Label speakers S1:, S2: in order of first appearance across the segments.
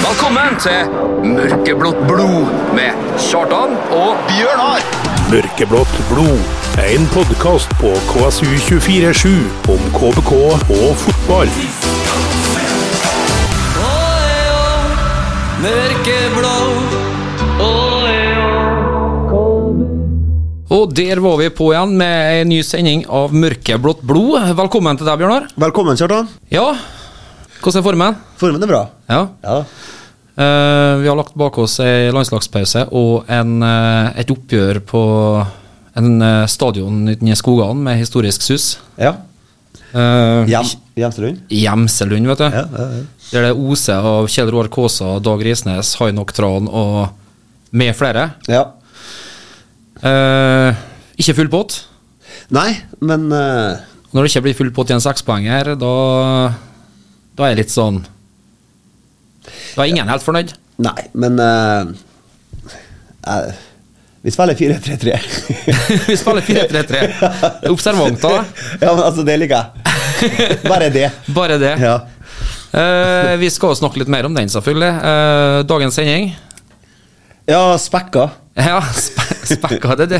S1: Velkommen til Mørkeblått blod med Kjartan og Bjørnar.
S2: Mørkeblått blod. En podkast på KSU247 om KBK og fotball.
S3: Og der var vi på igjen med en ny sending av Mørkeblått blod. Velkommen til deg, Bjørnar.
S4: Velkommen, Kjartan.
S3: Ja, hvordan er formen?
S4: Formen er bra.
S3: Ja.
S4: Ja.
S3: Eh, vi har lagt bak oss ei landslagspause og en, eh, et oppgjør på en eh, stadion uten i skogene med historisk sus.
S4: ja.
S3: Eh,
S4: Hjem, Hjemselund?
S3: Gjemselund, vet du.
S4: Ja, ja, ja.
S3: Der det oser av Kjell Roar Kaasa, Dag Risnes, Hainok Tran og med flere.
S4: Ja.
S3: Eh, ikke full pott.
S4: Nei, men eh,
S3: Når det ikke blir full pott i en sekspoenger, da, da er jeg litt sånn Da er ingen helt fornøyd.
S4: Nei, men eh, eh, Vi spiller 4-3-3.
S3: Vi spiller 4-3-3. Observant, da.
S4: ja, men altså, det liker jeg. Bare det.
S3: Bare det.
S4: Ja.
S3: Eh, vi skal jo snakke litt mer om den, selvfølgelig. Eh, dagens sending
S4: ja, spekka.
S3: Ja, spe spekka det, det.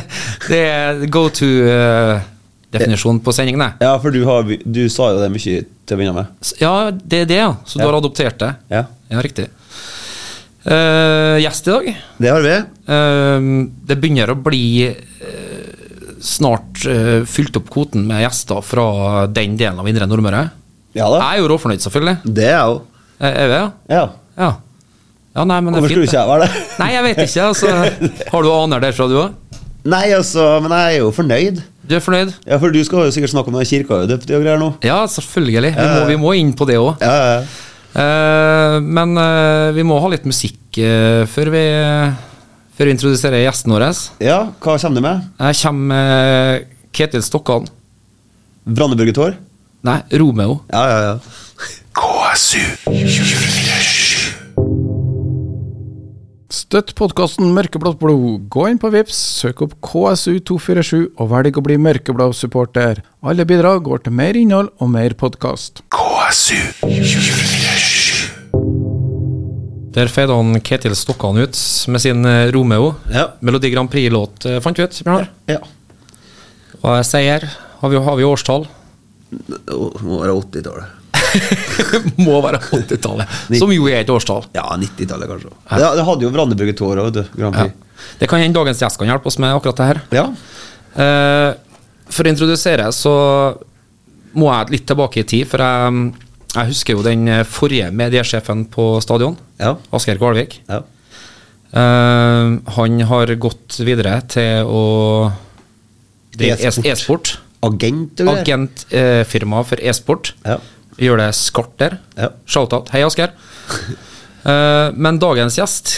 S3: Det er go to-definisjonen på sendingen, det.
S4: Ja, for du, har, du sa jo det mye til å begynne med.
S3: S- Ja, det er det, ja. Så du
S4: Ja.
S3: har adoptert det?
S4: Ja.
S3: Ja, riktig. Eh, gjest i dag.
S4: Det har vi.
S3: Eh, det begynner å bli eh, snart eh, fylt opp kvoten med gjester fra den delen av Indre Nordmøre.
S4: Ja da.
S3: Jeg er jo råfornøyd, selvfølgelig.
S4: Det er jeg òg.
S3: Eh, Er vi det?
S4: Ja.
S3: Ja. ja nei, men det er
S4: Hvorfor skulle
S3: fint.
S4: ikke
S3: det.
S4: jeg være det?
S3: Nei, jeg vet ikke. Altså, har du aner derfra, du òg?
S4: Nei, altså, men jeg er jo fornøyd.
S3: Du er fornøyd?
S4: Ja, for du skal jo sikkert snakke om den kirka du er døpt i og greier nå.
S3: Ja, selvfølgelig. Vi må, vi må inn på det òg.
S4: Ja, ja, ja.
S3: Eh, men eh, vi må ha litt musikk eh, før, vi, før vi introduserer gjesten vår.
S4: Ja, hva kommer du med?
S3: Her kommer eh, Ketil Stokkan.
S4: Brandeburget hår?
S3: Nei, Romeo.
S4: Ja, ja, ja.
S5: Støtt podkasten Mørkeblått blod. Gå inn på Vips, søk opp KSU247 og velg å bli mørkeblå supporter. Alle bidrag går til mer innhold og mer podkast.
S3: Der feide han Ketil Stokkan ut med sin eh, Romeo.
S4: Ja.
S3: Melodi Grand Prix-låt, eh, fant vi ut. Bjørnar.
S4: ja.
S3: Hva jeg sier? Har vi, har vi årstall?
S4: Må være 80-tallet.
S3: Må være 80-tallet, som jo er et årstall.
S4: Ja, 90-tallet kanskje. Ja, det hadde jo Brandeburget hår òg, vet du. Grand
S3: Ja.
S4: Prix.
S3: Det kan hende dagens gjest kan hjelpe oss med akkurat det her.
S4: Ja.
S3: Eh, for å introdusere, så må jeg litt tilbake i tid. For jeg, jeg husker jo den eh, forrige mediesjefen på stadion,
S4: Ja.
S3: Asgeir Kvalvik.
S4: ja.
S3: Eh, han har gått videre til å Det er
S4: E-sport.
S3: e-sport.
S4: Agent og greier.
S3: Agentfirma for e-sport.
S4: Ja.
S3: Gjør det skarpt der.
S4: Ja.
S3: Shout-out. Hei, Asgeir. Eh, men dagens gjest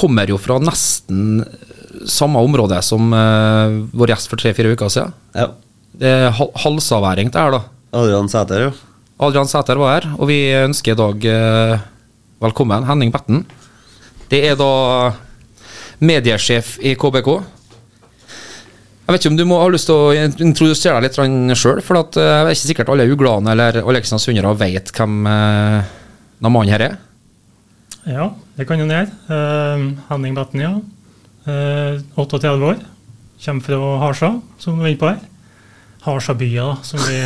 S3: kommer jo fra nesten samme område som eh, vår gjest for tre-fire uker siden.
S4: Ja.
S3: Det er hal- halsavværing det her, da.
S4: Adrian Sæter, jo.
S3: Adrian Sæter var her, og vi ønsker i dag eh, velkommen Henning Betten. Det er da mediesjef i KBK. Jeg vet ikke om du må ha lyst til å in- introdusere deg litt sjøl, for at, eh, det er ikke sikkert alle uglene eller aleksandsundere vet hvem eh, denne mannen her er.
S6: Ja, det kan hun gjøre. Eh, Henning Betten, ja. Eh, 38 år. Kommer fra Harsa, som du var inne på her. Harsabya, da, som vi,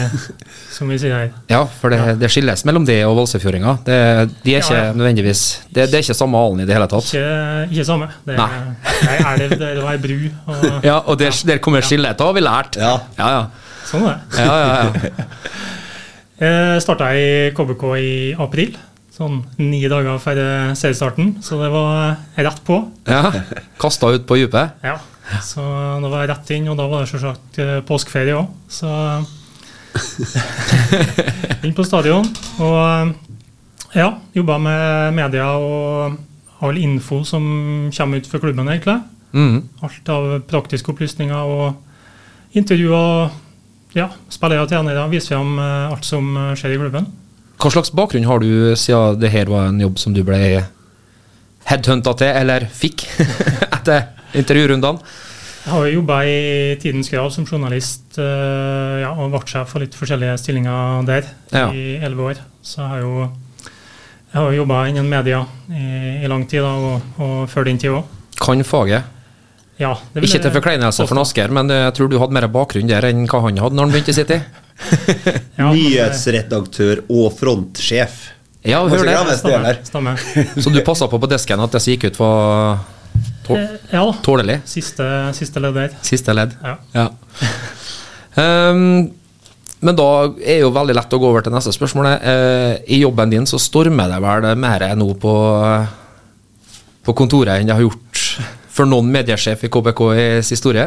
S6: som vi sier her.
S3: Ja, for det, det skilles mellom det og Valsøyfjordinga. Det, de er ikke
S6: Ja, ja.
S3: nødvendigvis Det, det er ikke samme alen i det hele tatt.
S6: Ikke, ikke samme. Det er,
S3: Nei.
S6: det er elv, det er ei bru. Og,
S3: Ja, og der, der kommer skillet, da har vi lært.
S4: Ja.
S3: ja, ja.
S6: Sånn er det. Eh,
S3: ja, ja, ja.
S6: Jeg starta i KBK i april. Sånn ni dager før eh, seriestarten, så det var eh, rett på.
S3: ja. Kasta ut på dypet.
S6: Ja, Så da var jeg rett inn, og da var det selvsagt eh, påskeferie òg, så Inn på stadion. Og eh, ja, jobba med media og all info som kommer ut fra klubben, egentlig.
S3: Mhm.
S6: Alt av praktiske opplysninger og intervjuer. Ja, spillere og trenere viser fram eh, alt som eh, skjer i klubben.
S3: Hva slags bakgrunn har du siden det her var en jobb som du ble headhunta til, eller fikk, etter intervjurundene?
S6: Jeg har jo jobba i Tidens Grav som journalist eh, ja, og vaktsjef for litt forskjellige stillinger der
S3: Ja.
S6: i elleve år. Så jeg har jo Jeg har jo jobba innen media i, i lang tid, da, og, og før den tid òg.
S3: Kan faget.
S6: Ja, det vil
S3: Ikke til
S6: jeg
S3: forkleinelse for
S6: påstå.
S3: Asker, men eh, jeg tror du hadde mer bakgrunn der enn hva han hadde når han begynte i City.
S6: Ja, men det-
S4: Nyhetsredaktør og frontsjef.
S3: Ja,
S4: Må
S3: hør
S4: ikke
S3: det.
S4: glemme det
S6: Stemmer.
S4: der.
S6: stemmer.
S3: Så du passa på på desken at det som gikk ut, var tå-
S6: Eh, Ja da.
S3: tålelig?
S6: Siste, siste leder.
S3: Siste ledd.
S6: Ja.
S3: Ehm, men da er jo veldig lett å gå over til neste spørsmål. Eh, I jobben din så stormer det vel mer nå på, på kontoret enn det har gjort for noen mediesjef i KBK i sin historie?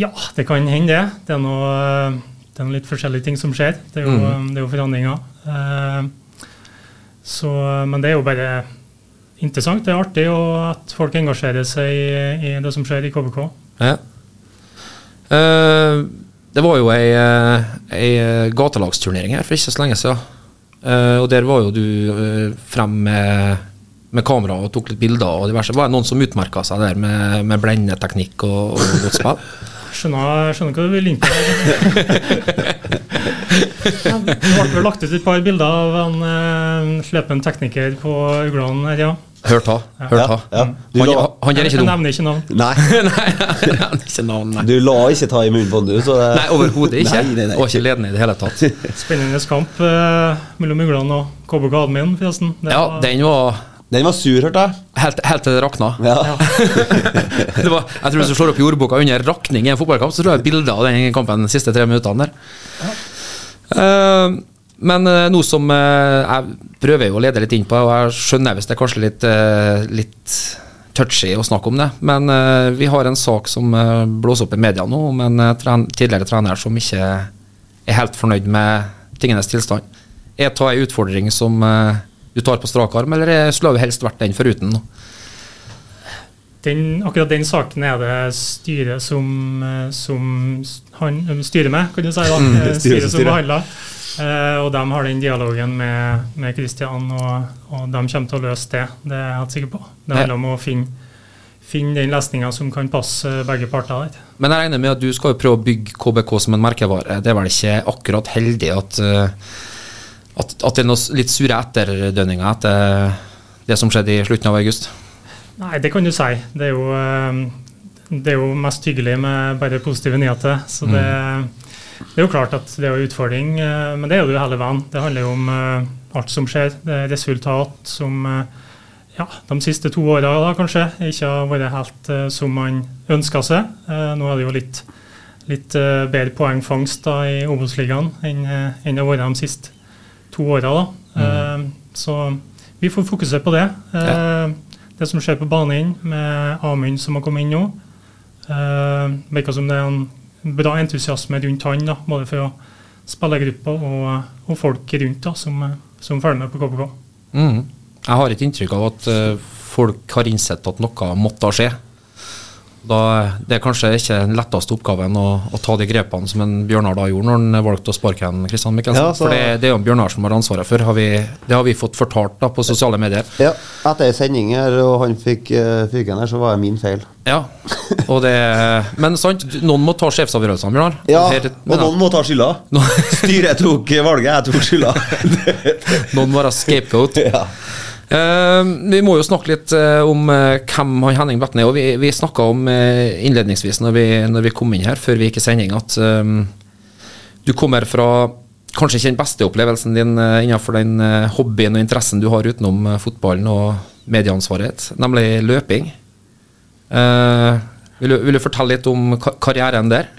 S6: Ja, det kan hende det. Det er noe, eh, det er noe litt forskjellige ting som skjer. Det er jo,
S3: Mm.
S6: det er jo forandringer. Eh, Så, men det er jo bare interessant. Det er artig og at folk engasjerer seg i, i det som skjer i KBK.
S3: Ja. Eh, det var jo ei, eh, ei gatelagsturnering her for ikke så lenge siden. Eh, og der var jo du eh, frem med, med kamera og tok litt bilder og diverse. Var det noen som utmerka seg der med, med blendeteknikk og, og godt spill?
S6: Skjønner, skjønner hva du vil inn på. Ja, Det ble vel lagt ut et par bilder av en eh, slepen tekniker på Uglan her, ja.
S3: Hørt ha. Hørt ha.
S4: Ja, ja. Du
S3: Han,
S4: la-
S3: han er ikke
S6: Jeg
S3: dum.
S6: nevner ikke navn.
S4: Nei,
S3: nei, han er ikke navn, nei.
S4: du la ikke ta i munnen på den, du. Så det,
S3: Nei, overhodet ikke.
S4: Nei, nei, nei.
S3: Og ikke ledende i det hele tatt.
S6: Spennende kamp eh, mellom Uglan og KBK Admin, forresten. Det
S3: Ja,
S6: var-
S3: den var
S4: Den var sur, hørte jeg.
S3: helt, helt til det rakna.
S4: Ja.
S3: det var, jeg tror Hvis du slår opp jordboka under 'rakning' i en fotballkamp, så tror jeg bilde av den kampen de siste tre minuttene der. Eh, men eh, noe som eh, jeg prøver jo å lede litt inn på, og jeg skjønner hvis det er kanskje litt, eh, litt touchy å snakke om det, men eh, vi har en sak som eh, blåser opp i media nå, om en eh, tren tidligere trener som ikke er helt fornøyd med tingenes tilstand. Er det en utfordring som eh, du tar på strak arm, eller eh, skulle du helst vært den foruten? nå?
S6: den, akkurat den saken er det styret som, eh, som s- han eh, styrer med, kan du si. da. Eh,
S4: Mm, styret som
S6: styret som
S4: styrer.
S6: behandler. Eh, og de har den dialogen med, med Kristian, og, og de kommer til å løse det. Det er jeg helt sikker på. Det handler om å finne, finne den lesninga som kan passe eh, begge parter. der.
S3: Men jeg regner med at du skal jo prøve å bygge KBK som en merkevare. Det er vel ikke akkurat heldig at, eh, at, at det er noe s- litt sure etterdønninger etter det som skjedde i slutten av august?
S6: Nei, det kan du si. Det er jo, eh, det er jo mest hyggelig med bare positive nyheter. Så det, det er jo klart at det er en utfordring, eh, men det er det jo hele veien. Det handler jo om eh, alt som skjer. Det er resultat som eh, ja, de siste to åra da, kanskje ikke har vært helt eh, som man ønska seg. Eh, nå er det jo litt, litt eh, bedre poengfangst da, i Obos-ligaen enn eh, enn det har vært de siste to åra. da. Eh, så vi får fokusere på det. Eh, Det som skjer på banen, med Amund som har kommet inn nå. Eh, Virker som det er en bra entusiasme rundt han, da, både fra spillergruppa og, og folk rundt da, som, som følger med på KBK.
S3: Mm. Jeg har et inntrykk av at eh, folk har innsett at noe måtte skje. Da, det er kanskje ikke den letteste oppgaven å, å ta de grepene som en Bjørnar da gjorde når han valgte å sparke en Kristian Mikkelsen.
S7: Ja, så-
S3: For det, det er jo en Bjørnar som har ansvaret for. Har vi, det har vi fått fortalt da, på sosiale medier.
S7: Ja, etter sending her, og han fikk uh, fyken her, så var det min feil.
S3: Ja, og det Men sant, du- noen må ta sjefsavgjørelsene, Bjørnar.
S7: Ja,
S3: Her-
S4: Og
S3: men,
S4: noen må ta skylda. Styret tok valget, jeg tok skylda.
S3: noen må være scapegoat.
S4: ja.
S3: Eh, vi må jo snakke litt eh, om eh, hvem han Henning Betten er. Og vi, vi snakka om eh, innledningsvis når vi, når vi kom inn her, før vi gikk i sending, at eh, du kommer fra kanskje ikke den beste opplevelsen din eh, innenfor den eh, hobbyen og interessen du har utenom eh, fotballen og medieansvaret, nemlig løping. Eh, vil, du, vil du fortelle litt om ka karrieren der?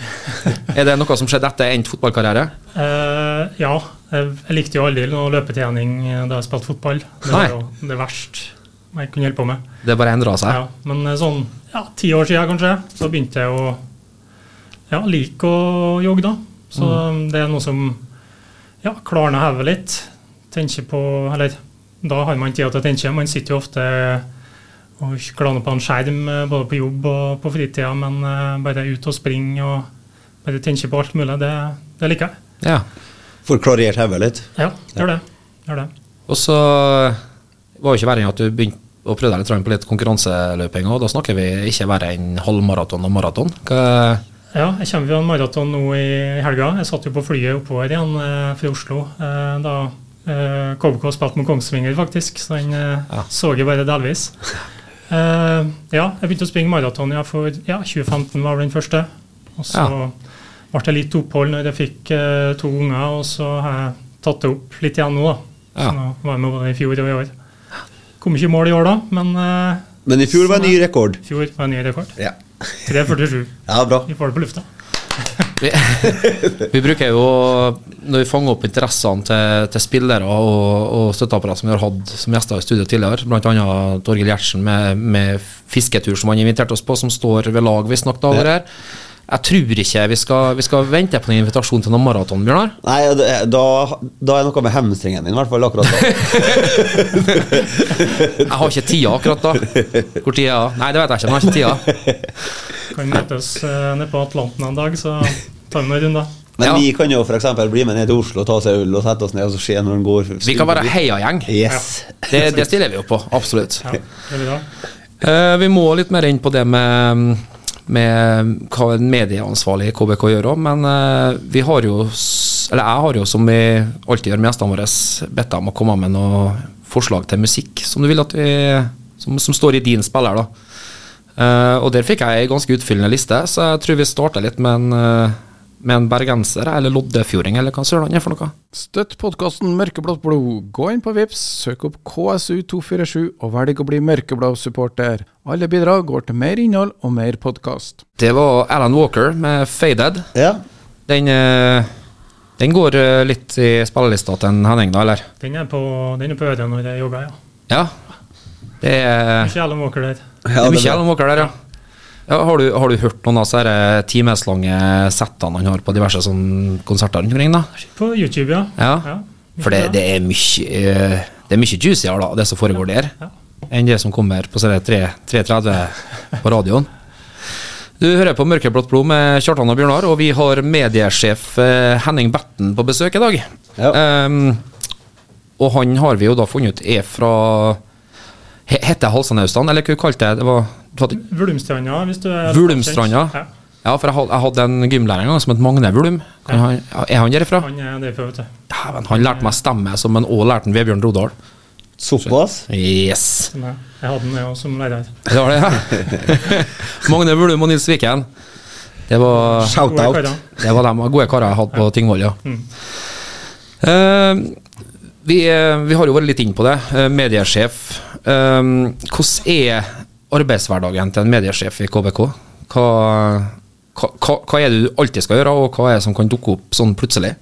S3: Er det noe som skjedde etter endt fotballkarriere?
S6: Eh, ja, jeg, jeg likte jo aldri noe løpetrening eh, da jeg spilte fotball. Det
S3: Nei.
S6: var jo det verste jeg kunne holde på med.
S3: Det bare endra seg?
S6: Ja, men eh, sånn ja, ti år siden kanskje, så begynte jeg å ja, like å jogge, da. Så um, det er noe som ja, klarner hodet litt. Tenker på Eller da har man tida til å tenke. Man sitter jo ofte og glaner på en skjerm, eh, både på jobb og på fritida, men eh, bare ut og springe og bare tenke på alt mulig, det, det liker jeg.
S3: Ja.
S4: Får klarert hodet litt.
S6: Ja, gjør det. Gjør det.
S3: Og så eh, var jo ikke verre enn at du begynte å prøve deg litt grann på litt konkurranseløping òg. Da snakker vi ikke verre enn halvmaraton og maraton. Hva-
S6: Ja, jeg kommer fra en maraton nå i helga. Jeg satt jo på flyet oppover igjen eh, fra Oslo eh, da eh, KBK spilte mot Kongsvinger, faktisk, så den eh, så jeg bare delvis. Eh, ja, jeg begynte å springe maraton ja, for ja, 2015 var vel den første. Og så
S3: Ja.
S6: ble det litt opphold når jeg fikk eh, to unger, og så har jeg tatt det opp litt igjen nå, da.
S3: Ja.
S6: Så nå var jeg med både i fjor og i år. Kom ikke i mål i år, da, men eh,
S4: Men i fjor var det ny rekord.
S6: i fjor var en ny rekord.
S4: Ja,
S6: 3,47.
S4: ja bra.
S6: Vi får det på lufta.
S3: Vi, vi bruker jo, når vi fanger opp interessene til, til spillere og, og støtteapparat som vi har hatt som gjester i studio tidligere, bl.a. Torgill Gjertsen med, med fisketur som han inviterte oss på, som står ved lag vi snakket over her. Jeg tror ikke vi skal, vi skal vente på en invitasjon til noen maraton, Bjørnar.
S7: Nei, det- da, da er det noe med hamstringen min, i hvert fall akkurat da.
S3: Jeg har ikke tida akkurat da. Hvor tida er Nei, det vet jeg ikke, men jeg har ikke tida.
S6: Kan møtes eh, nede på Atlanten en dag, så tar vi noen runder.
S7: Men
S3: Ja.
S7: vi kan jo f.eks. bli med ned til Oslo, ta seg øl og sette oss ned og så se når den går.
S3: Vi kan være heiagjeng.
S7: Yes.
S3: Det, det stiller vi jo på, absolutt.
S6: Ja, det blir bra.
S3: Eh, vi må litt mer inn på det med, med hva en medieansvarlig i KBK gjør òg, men eh, vi har jo s- Eller jeg har jo, som vi alltid gjør med gjestene våre, bedt dem å komme med noe forslag til musikk som du vil at vi Som, som står i din spiller, da. Eh, og der fikk jeg ei ganske utfyllende liste, så jeg tror vi starter litt med en, eh, med en bergenser, eller loddefjording, eller hva søren han er for noe.
S5: Støtt podkasten Mørkeblått blod. Gå inn på Vips, søk opp KSU247 og velg å bli mørkeblå-supporter. Alle bidrag går til mer innhold og mer podkast.
S3: Det var Alan Walker med 'Faded'.
S7: Ja.
S3: Den, eh, den går eh, litt i spillelista til en Henning, da, eller?
S6: Den er på, den er på øret når jeg jogger, ja.
S3: Ja. Det er,
S6: Ikke Alan Walker der.
S3: det er mye Alan Walker der, ja. ja har, du, har du hørt noen av disse her, eh, timeslange settene han har på diverse sånn, konserter rundt omkring, da?
S6: På YouTube, ja.
S3: Ja.
S6: mye
S3: For det,
S6: bra.
S3: det er mye eh, Det er mye juicier, da, det som foregår der,
S6: Ja.
S3: enn det som kommer på sånne tre- 3.30 på radioen. Du hører på Mørkeblått blod med Kjartan og Bjørnar, og vi har mediesjef eh, Henning Betten på besøk i dag.
S7: Ja.
S3: Ehm, og han har vi jo da funnet ut er fra he- Heter Halsanaustan, eller hva kalte jeg det? var- du hadde-
S6: Vulumstranda, hvis du er
S3: Vulumstranda?
S6: Ja.
S3: Ja, for jeg had- jeg hadde en gymlærer en gang som het Magne Vulum. Kan han, er han derifra?
S6: Han er derfra, vet du.
S3: Dæven, han lærte meg stemme som en Å lærte han Vebjørn Rodal.
S7: Såpass?
S3: Yes!
S6: Som jeg, jeg hadde den jeg også som lærer.
S3: Det var det, ja. Magne Vulum og Nils Viken. Det var,
S7: Shout
S6: Gode
S7: out.
S6: karer.
S3: det var de gode karene jeg hadde på Tingvoll, ja. Eh, vi, eh, vi har jo vært litt inn på det. eh, mediesjef. Eh, hvordan er arbeidshverdagen til en mediesjef i KBK? Hva, hva, hva- hva er det du alltid skal gjøre, og hva er det som kan dukke opp sånn plutselig?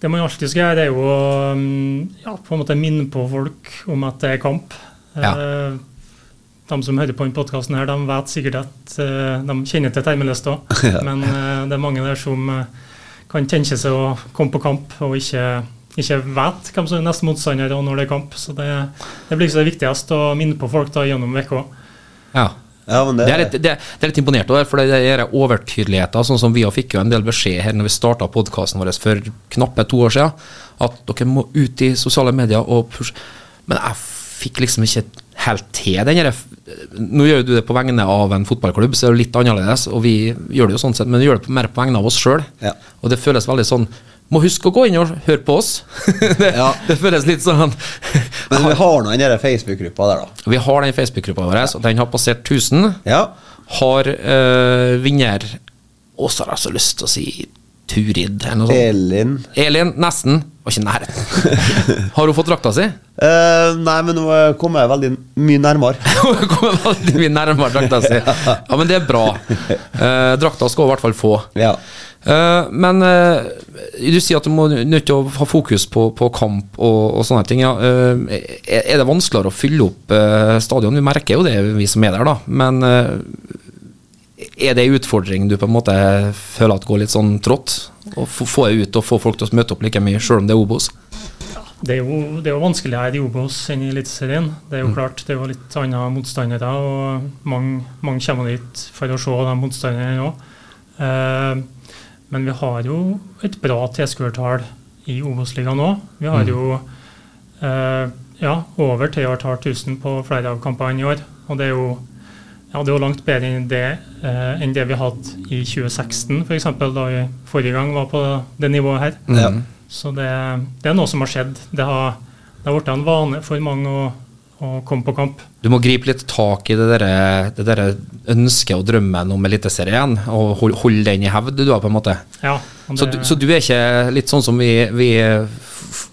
S6: Det man alltid skal gjøre, er jo å mm, ja, på en måte minne på folk om at det er kamp.
S3: Ja.
S6: Eh, De som hører på denne podkasten, vet sikkert at eh, de kjenner til termelista. Men eh, det er mange der som eh, kan tenke seg å komme på kamp og ikke, ikke vet hvem som er neste motstander og når det er kamp. Så det, det blir ikke så viktigst å minne på folk da gjennom uka.
S3: Ja.
S7: Ja, men det,
S3: Det er litt, det, det er litt imponert over, for det er denne overtydeligheten. Sånn som vi har fikk jo en del beskjed her når vi starta podkasten vår for knappe to år siden, at dere må ut i sosiale medier og pushe. Men jeg fikk liksom ikke helt til den her Nå gjør jo du det på vegne av en fotballklubb, så det er jo litt annerledes, og vi gjør det jo sånn sett, men vi gjør det på- mer på vegne av oss sjøl.
S7: Ja.
S3: Og det føles veldig sånn Må huske å gå inn og høre på oss. det,
S7: Ja.
S3: det føles litt sånn
S7: Men vi har nå den der Facebook-gruppa der, da.
S3: Vi har den Facebook-gruppa vår, og den har passert 1000
S7: Ja.
S3: har eh, vinner Og så har jeg så lyst til å si Turid eller noe sånt.
S7: Elin.
S3: Elin, nesten. Var ikke i nærheten. Har hun fått drakta si?
S7: Eh, nei, men nå kommer jeg veldig mye nærmere.
S3: Hun kommer veldig mye nærmere drakta si. Ja, men det er bra. Eh, drakta skal hun i hvert fall få.
S7: Ja.
S3: Eh, men eh, du sier at du må nødt til å ha fokus på, på kamp og, og sånne ting. Ja. Eh, er er det vanskeligere å fylle opp eh, stadion? Vi merker jo det, vi som er der, da. Men eh, er det en utfordring du på en måte føler at går litt sånn trått? Å få- få det ut og få folk til å møte opp like mye, sjøl om det er Obos?
S6: Det er, jo, det er jo vanskelig her i Obos enn i Eliteserien. Det er jo klart, det er jo litt andre motstandere, og mange, mange kommer dit for å se de motstanderne òg. men vi har jo et bra tilskuertall i Obos-ligaen òg. Vi har jo eh, ja, over 3500 på flere av kampene i år. Og det er jo ja, det er jo langt bedre enn det, eh, enn det vi hadde i 2016, f.eks., da vi forrige gang var på det nivået her.
S7: Ja.
S6: Så det, det er noe som har skjedd. Det har, det har blitt en vane for mange å, å komme på kamp.
S3: Du må gripe litt tak i det derre det derre ønsket og drømmen om Eliteserien igjen, og hol- holde den i hevd, du da, på en måte.
S6: Ja, og
S3: Så,
S6: det-
S3: du- så du er ikke litt sånn som vi, vi f- f-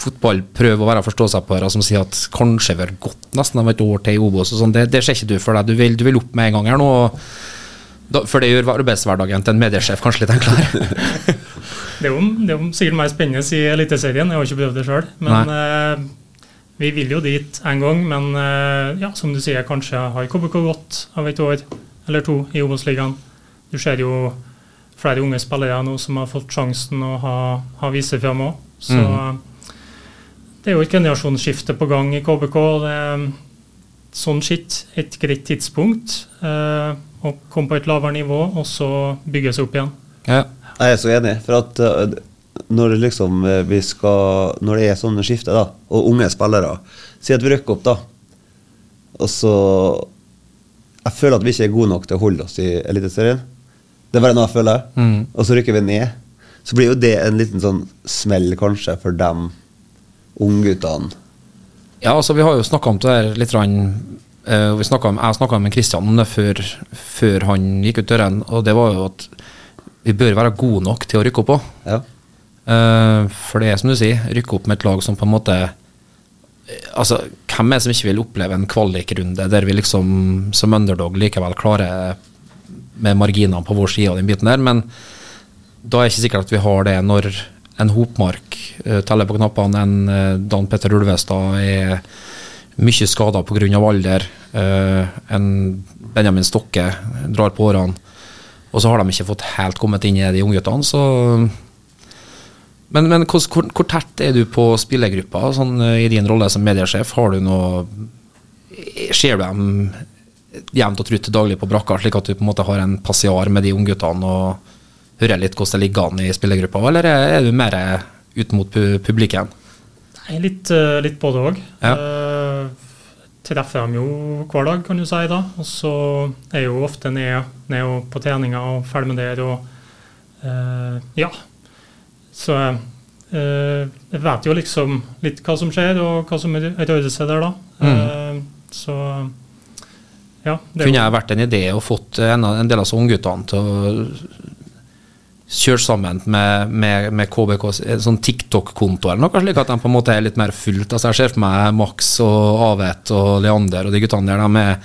S3: fotball prøver å være forståelsespåere, altså, som sier at kanskje vi har gått nesten om et år til i Obos og sånn. Det, det ser ikke du for deg. Du vil, du vil opp med en gang her nå. og Da, for det gjør arbeidshverdagen til en mediesjef kanskje litt enklere.
S6: Det er, jo, det er jo sikkert mer spennende i Eliteserien, jeg har ikke prøvd det sjøl. Men eh, vi vil jo dit en gang. Men eh, ja, som du sier, kanskje har KBK gått av et år eller to i Obos-ligaen. Du ser jo flere unge spillere nå som har fått sjansen og har, har vist seg fram òg. Så eh, det er jo et generasjonsskifte på gang i KBK. og Det er sånn sett et greit tidspunkt eh, å komme på et lavere nivå og så bygge seg opp igjen.
S3: Ja.
S4: Jeg er så enig, for at eh, når det liksom eh, vi skal Når det er sånne skifter, da, og unge spillere Si at vi rykker opp, da. Og så Jeg føler at vi ikke er gode nok til å holde oss i Eliteserien. Det er bare noe jeg føler. Og så rykker vi ned. Så blir jo det en liten sånn smell, kanskje, for dem ungguttene.
S3: Ja, altså vi har jo snakka om det her litt rann, eh, vi snakket om, Jeg snakka med Kristian om det før, før han gikk ut døren, og det var jo at vi bør være gode nok til å rykke opp òg.
S4: Ja.
S3: Eh, for det er som du sier, rykke opp med et lag som på en måte eh, Altså, hvem er det som ikke vil oppleve en kvalikrunde der vi liksom som underdog likevel klarer med marginene på vår side og den biten der, men da er det ikke sikkert at vi har det når en Hopmark eh, teller på knappene, en eh, Dan Petter Ulvestad er mye skada pga. alder, eh, en Benjamin Stokke drar på årene, og så har de ikke fått helt kommet inn i de ungguttene, så men, men hvor, hvor, hvor tett er du på spillergruppa sånn, eh, i din rolle som mediesjef? Har du noe eh, Ser du dem jevnt og trutt til daglig på brakka, slik at du på en måte har en passiar med de ungguttene og hører litt hvordan det ligger an i spillergruppa, eller er er du mer eh, ut mot pu publikum?
S6: Nei, litt, eh, litt både òg.
S3: Ja.
S6: Eh, treffer dem jo hver dag, kan du si. da. Og så er jeg jo ofte nede, nede og på treninga og ferdig med det. Og, eh, ja. Så eh, jeg vet jo liksom litt hva som skjer, og hva som rører seg der, da.
S3: Mm.
S6: Eh, så ja. det er jo-
S3: Kunne jeg vært en idé og fått eh, en, av- en del av så ungguttene til å kjøre sammen med, med, med KBK, en sånn TikTok-konto eller noe, slik at de på en måte er litt mer fullt. Altså Jeg ser for meg Max og Avet og Leander og de guttene der. de er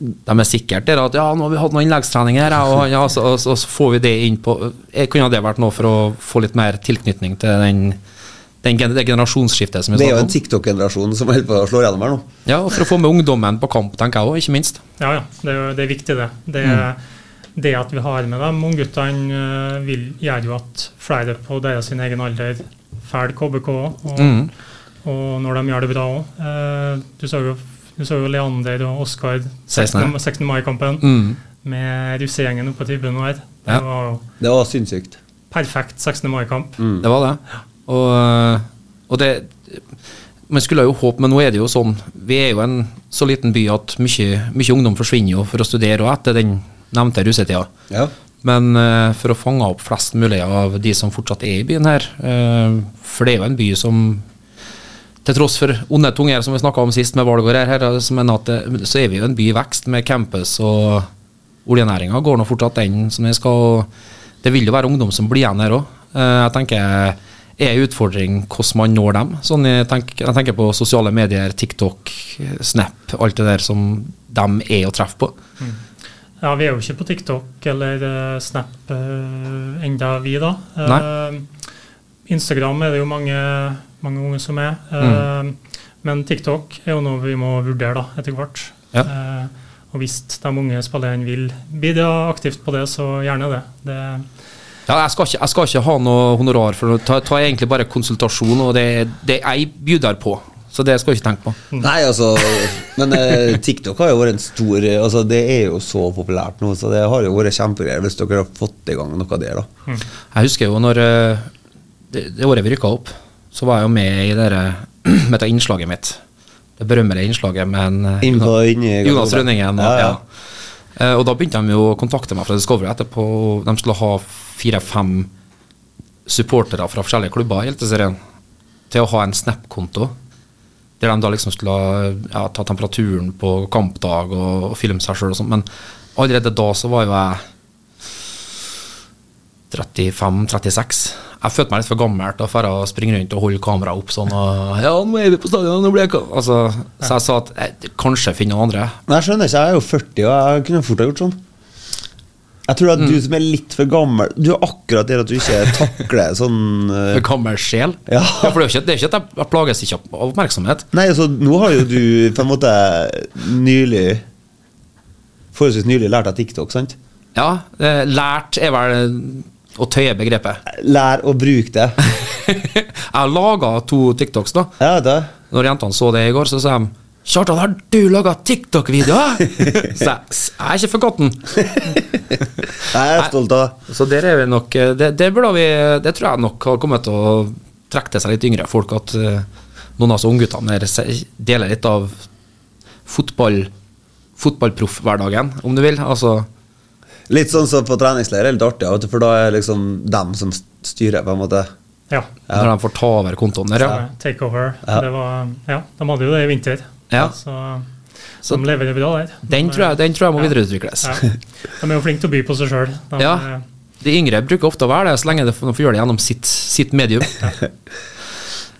S3: de er sikkert der at ja, nå har vi hatt noen innleggstrening her, ja, og, han- ja, så, og, så- og så får vi det inn på Eh, Kunne det vært noe for å få litt mer tilknytning til den, den gen- det generasjonsskiftet som vi
S4: Det er
S3: snakker
S4: jo en
S3: om?
S4: TikTok-generasjon som holder på å slå gjennom her nå.
S3: Ja, og for å få med ungdommen på kamp, tenker jeg òg, ikke minst.
S6: Ja, ja. Det er, jo- det er viktig, det. Det, det at vi har med dem ungguttene, eh, vil- gjør jo at flere på deres sin egen alder følger KBK. Og, og når de gjør det bra òg. Du, så jo- du så jo Leander og Oskar
S3: 16.
S6: 16. 16. mai-kampen med russegjengen oppe på tribunen her. Det
S3: Ja.
S6: var jo
S4: Det var sinnssykt.
S6: perfekt 16. mai-kamp.
S3: Det var det. Og, og det Man skulle jo håpe, men nå er det jo sånn Vi er jo en så liten by at mye, mye ungdom forsvinner jo for å studere og etter den nevnte russetida.
S4: Ja.
S3: Men eh, for å fange opp flest mulig av de som fortsatt er i byen her eh, For det er jo en by som til tross for onde tunger som vi snakka om sist, med Valgård her, her som mener at det, så er vi jo en by i vekst med campus og oljenæringa går nå fortsatt den som den skal. og Det vil jo være ungdom som blir igjen her òg. Jeg tenker er en utfordring hvordan man når dem. Sånn jeg, tenker, jeg tenker på sosiale medier, TikTok, Snap, alt det der som de er å treffe på.
S6: Ja, vi er jo ikke på TikTok eller eh, Snap eh, enda vi, da. Eh, Instagram er det jo mange, mange unge som er. eh,
S3: Mm.
S6: Men TikTok er jo noe vi må vurdere da, etter hvert.
S3: Ja.
S6: Eh, og hvis de unge spillerne vil bidra aktivt på det, så gjerne det. det
S3: Ja, jeg skal, ikke, jeg skal ikke ha noe honorar for det. Ta, ta egentlig bare konsultasjon, og det, det jeg bjuder på. Så det skal jeg ikke tenke på.
S4: Nei, altså Men eh, TikTok har jo vært en stor eh, Altså, Det er jo så populært nå, så det har jo vært kjempegreier hvis dere har fått i gang noe der, da.
S3: Jeg husker jo når eh, det, det året vi rykka opp, så var jeg jo med i det der- med dette innslaget mitt. Det berømmelige innslaget med en eh,
S4: Inn på- inn i-
S3: Jonas Rønningen. Og,
S4: Ja, ja.
S3: ja. Eh, og da begynte de jo å kontakte meg fra Discovery etterpå. og De skulle ha fire-fem supportere fra forskjellige klubber i Eliteserien til å ha en Snap-konto. Der de da liksom skulle ha, ja, ta temperaturen på kampdag og, og filme seg sjøl og sånt. Men allerede da så var jo jeg 35-36. Jeg følte meg litt for gammel til å fære og springe rundt og holde kameraet opp sånn. Og, ja, nå er vi på stadion, nå blir jeg ka-» altså, Så jeg sa at jeg, kanskje finne noen andre.
S4: Men jeg skjønner ikke, jeg er jo 40, og jeg kunne fort ha gjort sånn. Jeg tror at du som er litt for gammel Du er akkurat der at du ikke takler sånn eh,
S3: En gammel sjel.
S4: Ja.
S3: for det er jo ikke, det er jo ikke at jeg, jeg plages ikke av oppmerksomhet.
S4: Nei, altså, nå har jo du på en måte nylig Forholdsvis nylig lært deg TikTok, sant?
S3: Ja, eh, lært er vel eh, å tøye begrepet.
S4: Lær å bruke det.
S3: jeg laga to TikToks, da.
S4: Jeg vet det.
S3: Når jentene så det i går, så sa de Kjartan, har du laga TikTok-video? hæ?» Så jeg, «S- jeg er ikke forgotten.
S4: Jeg er stolt av det.
S3: Så der er vi nok eh, Det, det, burde vi, det tror jeg nok har kommet til å trekke til seg litt yngre folk, at eh, noen av oss ungguttene der se- deler litt av fotball fotballproffhverdagen, om du vil. Altså,
S4: Litt sånn som på treningsleir er litt artig, vet du, for da er liksom dem som styrer, på en måte.
S6: Ja.
S3: når de får ta over kontoen der, ja.
S6: Takeover. Det var, ja, de hadde jo det i vinter,
S3: ja.
S6: så
S3: Så-
S6: de leverer bra der.
S3: Den tror jeg, den tror jeg må videreutvikles.
S6: Ja. De er jo flinke til å by på seg eh, sjøl.
S3: Ja. De yngre bruker ofte å være det, så lenge de får de får gjøre det gjennom sitt, sitt medium.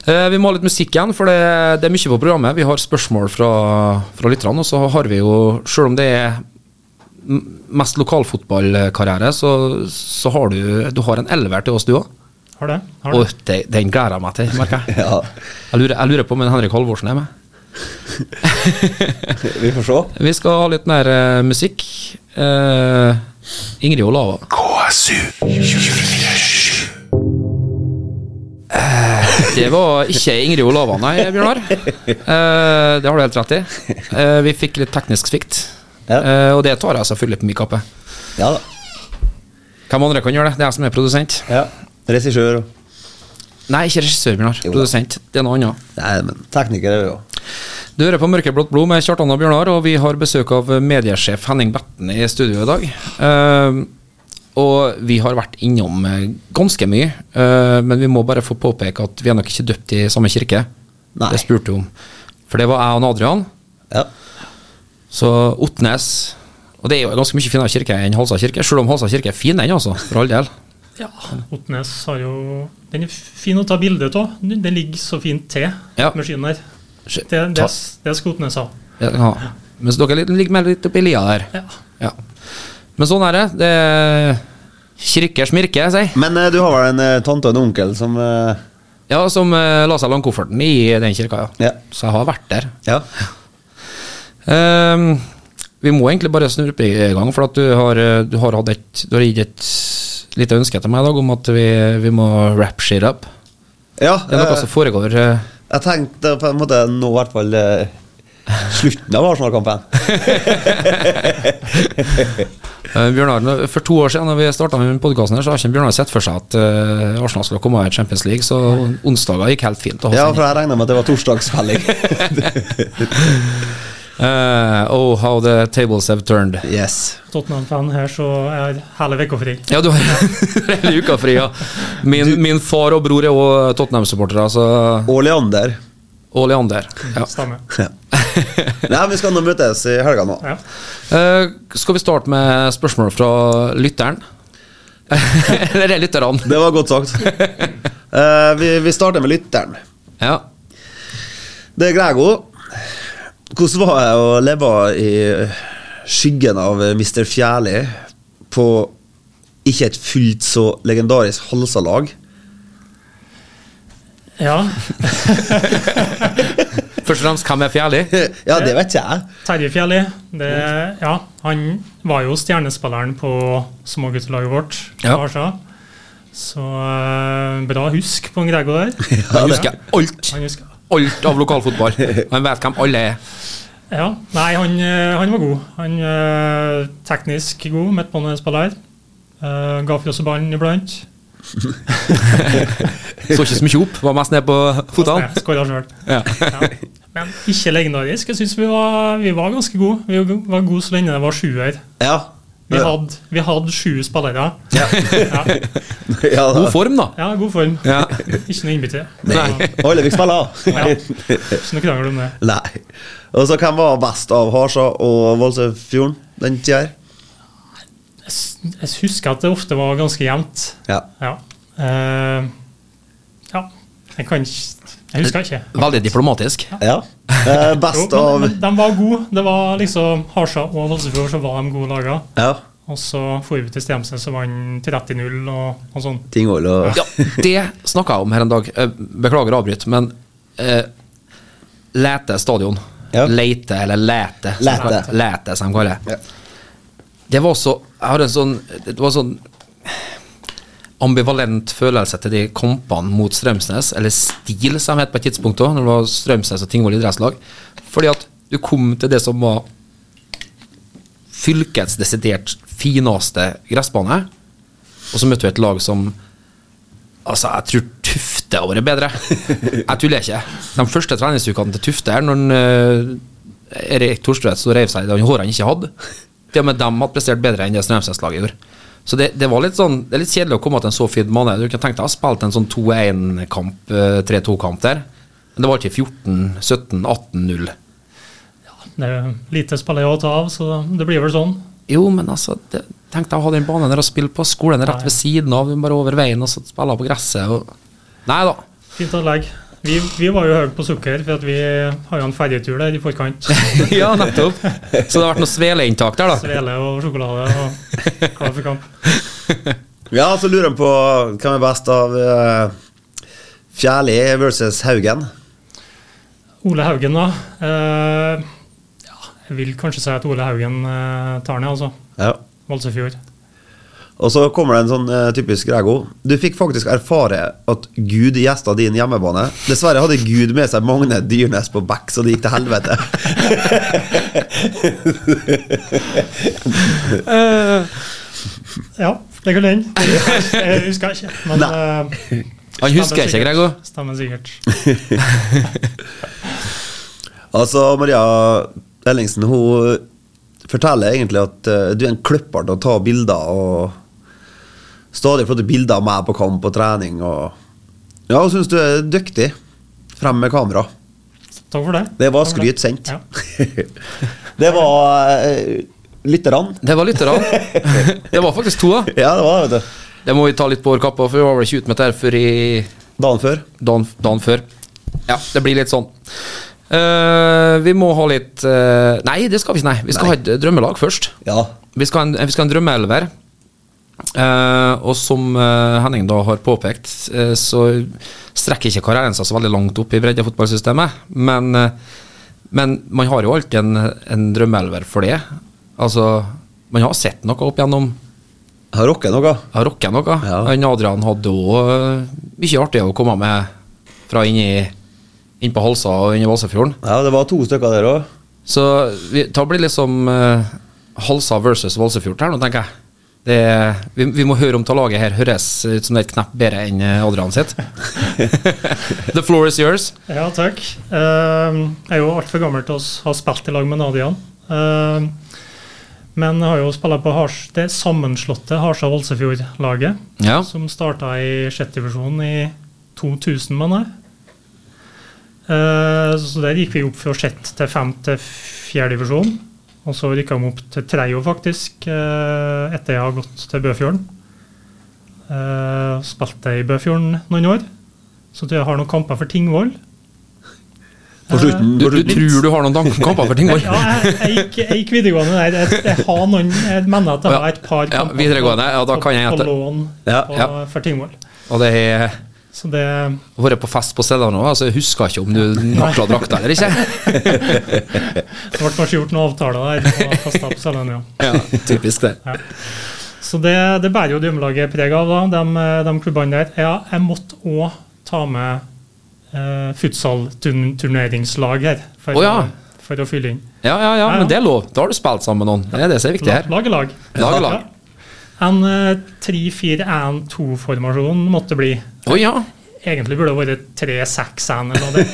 S3: Eh, Vi må ha litt musikk igjen, for det, det er mye på programmet. Vi har spørsmål fra, fra lytterne, og så har vi jo, selv om det er m- mest lokalfotballkarriere, så, så har du, du har en elver til oss, du òg.
S6: Har det. Har det.
S3: Og det, den gleder jeg meg til, merker jeg.
S4: Ja,
S3: Jeg lurer, jeg lurer på om en Henrik Halvorsen er med.
S4: vi får se.
S3: Vi skal ha litt mer eh, musikk. Eh, Ingrid Olava.
S2: KSU.
S3: Det var ikke Ingrid Olava, nei, Bjørnar. Eh, det har du helt rett i. Eh, vi fikk litt teknisk svikt,
S4: Ja.
S3: Eh, og det tar jeg selvfølgelig på min kappe.
S4: Ja da.
S3: Hvem andre kan gjøre det? Det er jeg som er produsent.
S4: Ja. Regissør og
S3: Nei, ikke regissør, Bjørnar.
S4: Jo da.
S3: Produsent. Det er noe annet.
S4: Nei, men tekniker er vi jo.
S3: Du hører på Mørkeblått blod med Kjartan og Bjørnar, og vi har besøk av mediesjef Henning Betten i studio i dag. Eh, og vi har vært innom eh, ganske mye, eh, men vi må bare få påpeke at vi er nok ikke døpt i samme kirke.
S4: Nei.
S3: Det spurte du om. For det var jeg og Adrian.
S4: Ja.
S3: Så Otnes Og det er jo en ganske mye finere kirke enn Halsa kirke, selv om Halsa kirke er fin, den, altså, for all del.
S6: Ja. Otnes har jo Den er fin å ta bilde av. Den den ligger så fint til,
S3: Ja.
S6: maskinen der.
S3: Sk-
S6: Det, det,
S3: ta-
S6: det skal Otnes ha.
S3: Ja. Mens dere er litt- ligger mer litt oppi lia der.
S6: Ja.
S3: Ja. Men sånn er det. Det er kirkers mirke, jeg sier.
S4: Men eh, du har vel en eh, tante og en onkel som eh,
S3: Ja, som eh, la seg langkofferten i den kirka, ja.
S4: Ja.
S3: Så jeg har vært der.
S4: Ja.
S3: Ehm, vi må egentlig bare snurpe i gang, for at du har, eh, du har, hatt et, du har gitt et lite ønske til meg i dag om at vi, vi må wrap shit up.
S4: ja
S3: Det er noe
S4: eh,
S3: som foregår eh,
S4: Jeg tenkte på en måte nå i hvert fall eh, slutten av Arsenal-kampen.
S3: eh, Bjørnar, nå- for to år siden da vi starta med podkasten, så har ikke Bjørnar sett for seg at eh, Arsenal skulle komme i Champions League, så onsdager gikk helt fint. å ha
S4: Ja,
S3: sending.
S4: for jeg regna med at det var torsdagsfelling.
S3: Eh, oh, how the tables have turned.
S4: Yes.
S6: Tottenham-fan her, så er hele uka fri.
S3: Ja, du har hele uka fri, ja. Min, min far og bror er òg Tottenham-supportere, så
S4: Og Leander.
S3: Og Leander. Ja.
S6: Stemmer.
S4: Nei, vi skal nå møtes i helga nå.
S6: Ja.
S3: Eh, skal vi starte med spørsmål fra lytteren? Eller lytterne.
S4: Det var godt sagt. Eh, vi, vi starter med lytteren.
S3: Ja.
S4: Det er Grego. Hvordan var det å leve i skyggen av Mr. Fjærli på ikke et fullt så legendarisk Halsa-lag?
S6: ja.
S3: Først og fremst, hvem er Fjærli?
S4: Ja, det vet ikke jeg.
S6: Terje Fjelli, det, ja, han var jo stjernespilleren på småguttelaget vårt.
S3: Ja.
S6: på Arsa. Så eh, bra husk på en Grego der.
S3: Han husker alt
S6: Han husker.
S3: Alt av lokalfotball. Han vet hvem alle er.
S6: Ja, Nei, han, eh, han var god. Han eh, Teknisk god midtbanespiller. Eh, ga fra seg ballen iblant.
S3: Så ikke så mye opp, var mest ned på føttene.
S6: Skåra sjøl.
S3: Ja.
S6: Ja. Men ikke legendarisk. Jeg syns vi, var- vi var ganske gode. Vi var gode så lenge det var sjuer.
S4: Ja.
S6: Vi hadde, vi hadde sju spillere.
S4: Ja.
S6: Ja.
S4: ja, da.
S3: God form, da.
S6: ja, god form.
S3: Ja.
S6: Ikke noe innbytte.
S3: Nei.
S4: Olevik spiller!
S6: Ja. Ikke noe krangel om det.
S4: Nei. Og så hvem var best av Harsa og Valsøyfjorden den tida her?
S6: Jeg s- Jeg husker at det ofte var ganske jevnt.
S4: Ja.
S6: Ja. Eh, ja. Jeg kan ikke Jeg husker ikke.
S3: Veldig diplomatisk.
S4: ja. Eh, best
S6: Jo,
S4: av
S6: men, men de var gode. Det var liksom Harsa og Valsefjord, så var de gode laga.
S4: Ja.
S6: Og så for vi til Stemsnes og vant 30-0 og, og sånn.
S4: Tingvoll og
S3: Ja, det snakka jeg om her en dag. Eh, Beklager å avbryte, men eh, Lete stadion.
S4: Ja.
S3: Leite, eller Læte. som
S4: Læte.
S3: de kaller- Læte, som de kaller det.
S4: Ja.
S3: Det var så Jeg har en sånn Det var sånn ambivalent følelse til de kampene mot Strømsnes, eller Stil, som de het på et tidspunkt òg, når det var Strømsnes og Tingvoll idrettslag. Fordi at du kom til det som var fylkets desidert fineste gressbane, og så møtte du et lag som Altså, jeg tror Tufte har vært bedre. Jeg tuller ikke. De første treningsukene til Tufte her, når han, eh, Erik Thorstvedt sto og reiv seg i det håret han ikke hadde Til og med dem hadde prestert bedre enn det Strømsnes-laget gjorde. Så det, det var litt sånn Det er litt kjedelig å komme til en så fin bane. Du kunne tenkt deg å ha spilt en sånn 2-1-kamp, eh, 3-2-kamp der. Men det var ikke 14-17-18-0.
S6: Det er jo lite spillere å ta av, så det blir vel sånn.
S3: Jo, men altså det, Tenk deg å ha den banen der og spille på skolen rett ved siden av, bare over veien, og så spille på gresset og Nei da.
S6: Fint anlegg. Vi, vi var jo høye på sukker, for at vi har jo en ferjetur der i forkant.
S3: ja, nettopp. Så det har vært noe sveleinntak der, da.
S6: Svele og sjokolade og klar for kamp.
S4: Ja, så lurer han på hvem er best av eh, Fjærli versus Haugen.
S6: Ole Haugen, da. Eh, ja, jeg vil kanskje si at Ole Haugen eh, tar ned, altså.
S4: Ja.
S6: Valsøfjord.
S4: Og så kommer det en sånn eh, typisk Grego. Du fikk faktisk erfare at Gud gjesta din hjemmebane. Dessverre hadde Gud med seg Magne Dyrnes på back, så det gikk til helvete.
S6: Eh, Ja, det går den. Jeg husker ikke, men eh,
S3: Han husker
S6: stemmer
S3: ikke,
S6: sikkert.
S3: Grego.
S6: Stemmer sikkert.
S4: Altså, Maria Ellingsen, hun forteller egentlig at eh, du er en kløpper til å ta bilder og stadig flotte bilder av meg på kamp og trening og Ja, hun syns du er dyktig. Frem med kamera.
S6: Takk for det.
S4: Det var
S6: Takk for det.
S4: skryt sendt.
S6: Ja.
S4: Det var eh, lite grann.
S3: Det var litt rann. Det var faktisk to, da.
S4: Ja, det var det, vet du.
S3: Det må vi ta litt på vår kappe, for vi var vel ikke ute med dette her før i
S4: Dagen før.
S3: dagen, dagen før. Ja, det blir litt sånn. Eh, vi må ha litt eh, Nei, det skal vi ikke. Nei. Vi skal ha et drømmelag først.
S4: Ja.
S3: Vi skal ha en, vi skal ha en drømmeelver. Eh, og som eh, Henning da har påpekt, eh, så strekker ikke karrieren seg så veldig langt opp i breddefotballsystemet. Men, eh, men man har jo alltid en, en drømmeelver for det. Altså, man har sett noe opp gjennom
S4: Har rocket noe?
S3: har rocka noe.
S4: Ja.
S3: Han Adrian hadde òg mye artig å komme med fra inni inn på Halsa og inni Valsafjorden.
S4: Ja, det var to stykker der òg.
S3: Så vi, da blir det liksom eh, Halsa versus Valsefjord her nå, tenker jeg. Det, er- vi, vi må høre om ta laget her høres ut som det er et knepp bedre enn eh, Adrian sitt. The floor is yours.
S6: Ja, takk. Eh, Jeg er jo altfor gammel til å s- ha spilt i lag med Nadian. Eh, Men jeg har jo spilt på Hars, det sammenslåtte Harstad-Valsefjord-laget,
S3: Ja.
S6: som starta i sjette divisjon i 2000, mener jeg. Eh, Så der gikk vi opp fra sjette til fem til fjerde divisjon. Og så rykka vi opp til tredje, faktisk, eh, etter jeg har gått til Bøfjorden. Eh, Spilte i Bøfjorden noen år. Så tror jeg jeg har noen kamper for Tingvoll.
S4: På slutten.
S3: Du, du tror du har noen tank- kamper for Tingvoll?
S6: Ja, jeg, jeg, gikk, jeg gikk videregående der. Jeg, jeg, har noen, jeg mener at jeg har et par
S3: Ja, videregående, ja, da kan jeg
S6: på,
S3: gjette.
S6: på lån
S4: Ja,
S6: på,
S3: ja.
S6: for Tingvoll.
S3: Og det er
S6: Så det
S3: vært på fest på steder nå, altså jeg husker ikke om du nakla drakta eller ikke.
S6: det ble kanskje gjort noen avtaler der. og kastet opp selgeren, ja.
S3: Ja, typisk det.
S6: Så det, det bærer jo drømmelaget preg av, da, de, de klubbene der. Ja, jeg måtte òg ta med eh, futsal-turneringslag her for,
S3: Å ja.
S6: for å fylle inn.
S3: Ja, ja, ja, men det er lov. Da har du spilt sammen med noen. Det er det som er viktig her.
S6: Lag er lag.
S3: Lag er lag.
S6: Ja. En eh, 3-4-1-2-formasjon måtte bli.
S3: Å ja.
S6: egentlig burde det vært 3-6-1 eller noe. Det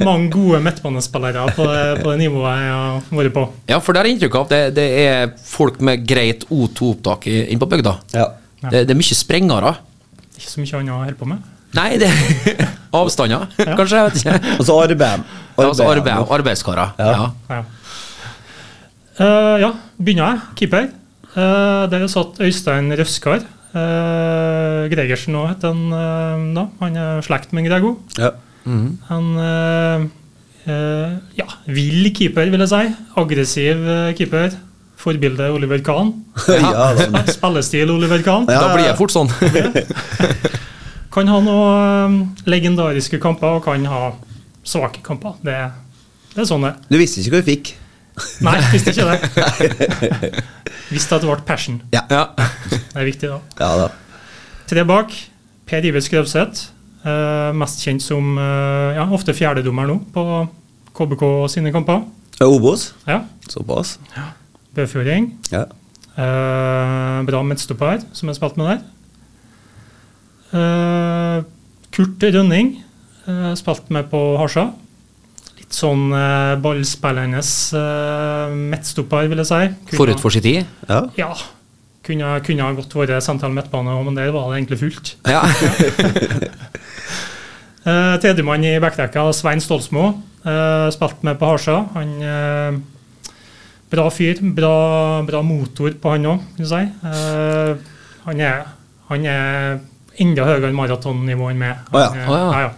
S6: er Mange gode midtbanespillere på, det- på det nivået jeg har vært på.
S3: Ja, for det har jeg inntrykk av. Det, det er folk med greit O2-opptak i- inn på bygda.
S4: Ja.
S3: Det, det er mye sprengere.
S6: Ikke så mye annet å holde på med.
S3: Nei, det Avstander,
S6: Ja.
S3: kanskje? Jeg vet ikke.
S4: Og så RBM.
S3: Altså arbeid, arbeidskarer.
S4: Ja.
S3: Ja.
S6: Ja. Eh, ja, begynner jeg. Keeper. Eh, der satt Øystein Røskar. Eh, Gregersen òg heter han eh, da. Han er slekt med Grego.
S4: Ja.
S6: Han eh, eh, ja, vill keeper, vil jeg si. Aggressiv eh, keeper. Forbilde Oliver Kahn.
S4: ja, da.
S6: Spillestil Oliver Kahn.
S4: Ja,
S3: Da
S4: ja,
S3: blir
S4: ja.
S3: jeg fort sånn.
S6: Kan ha noen eh, legendariske kamper og kan ha svake kamper. Det, det er sånn det er.
S4: Du visste ikke hva du fikk.
S6: Nei, visste ikke det. Visste at det ble passion.
S3: Ja.
S6: Det er viktig, da.
S4: Ja da.
S6: Tre bak. Per Iver Skrøvseth. eh, mest kjent som eh, ja, ofte fjerdedommer nå på KBK sine kamper.
S4: Ja, Obos.
S6: Ja,
S4: Såpass.
S6: Bøfjording.
S4: Ja.
S6: Eh, bra midtstopper som jeg spilte med der. Eh, Kurt Rønning uh, spilte med på Hasja. Litt sånn uh, ballspillende uh, midtstopper, vil jeg si. Kunne-
S3: Forut for sin tid.
S4: ja.
S6: Ja. Kunne, kunne ha godt vært sentral midtbane òg, men der var det egentlig fullt.
S3: Ja.
S6: Uh, Tredjemann i backrekka, Svein Stolsmo, uh, spilte med på Hasja. Han eh, Bra fyr. Bra, bra motor på han òg, kan du si. Eh, han, er, han er enda høyere maratonnivå enn meg.
S4: Å ja,
S6: Han er-
S3: å ja.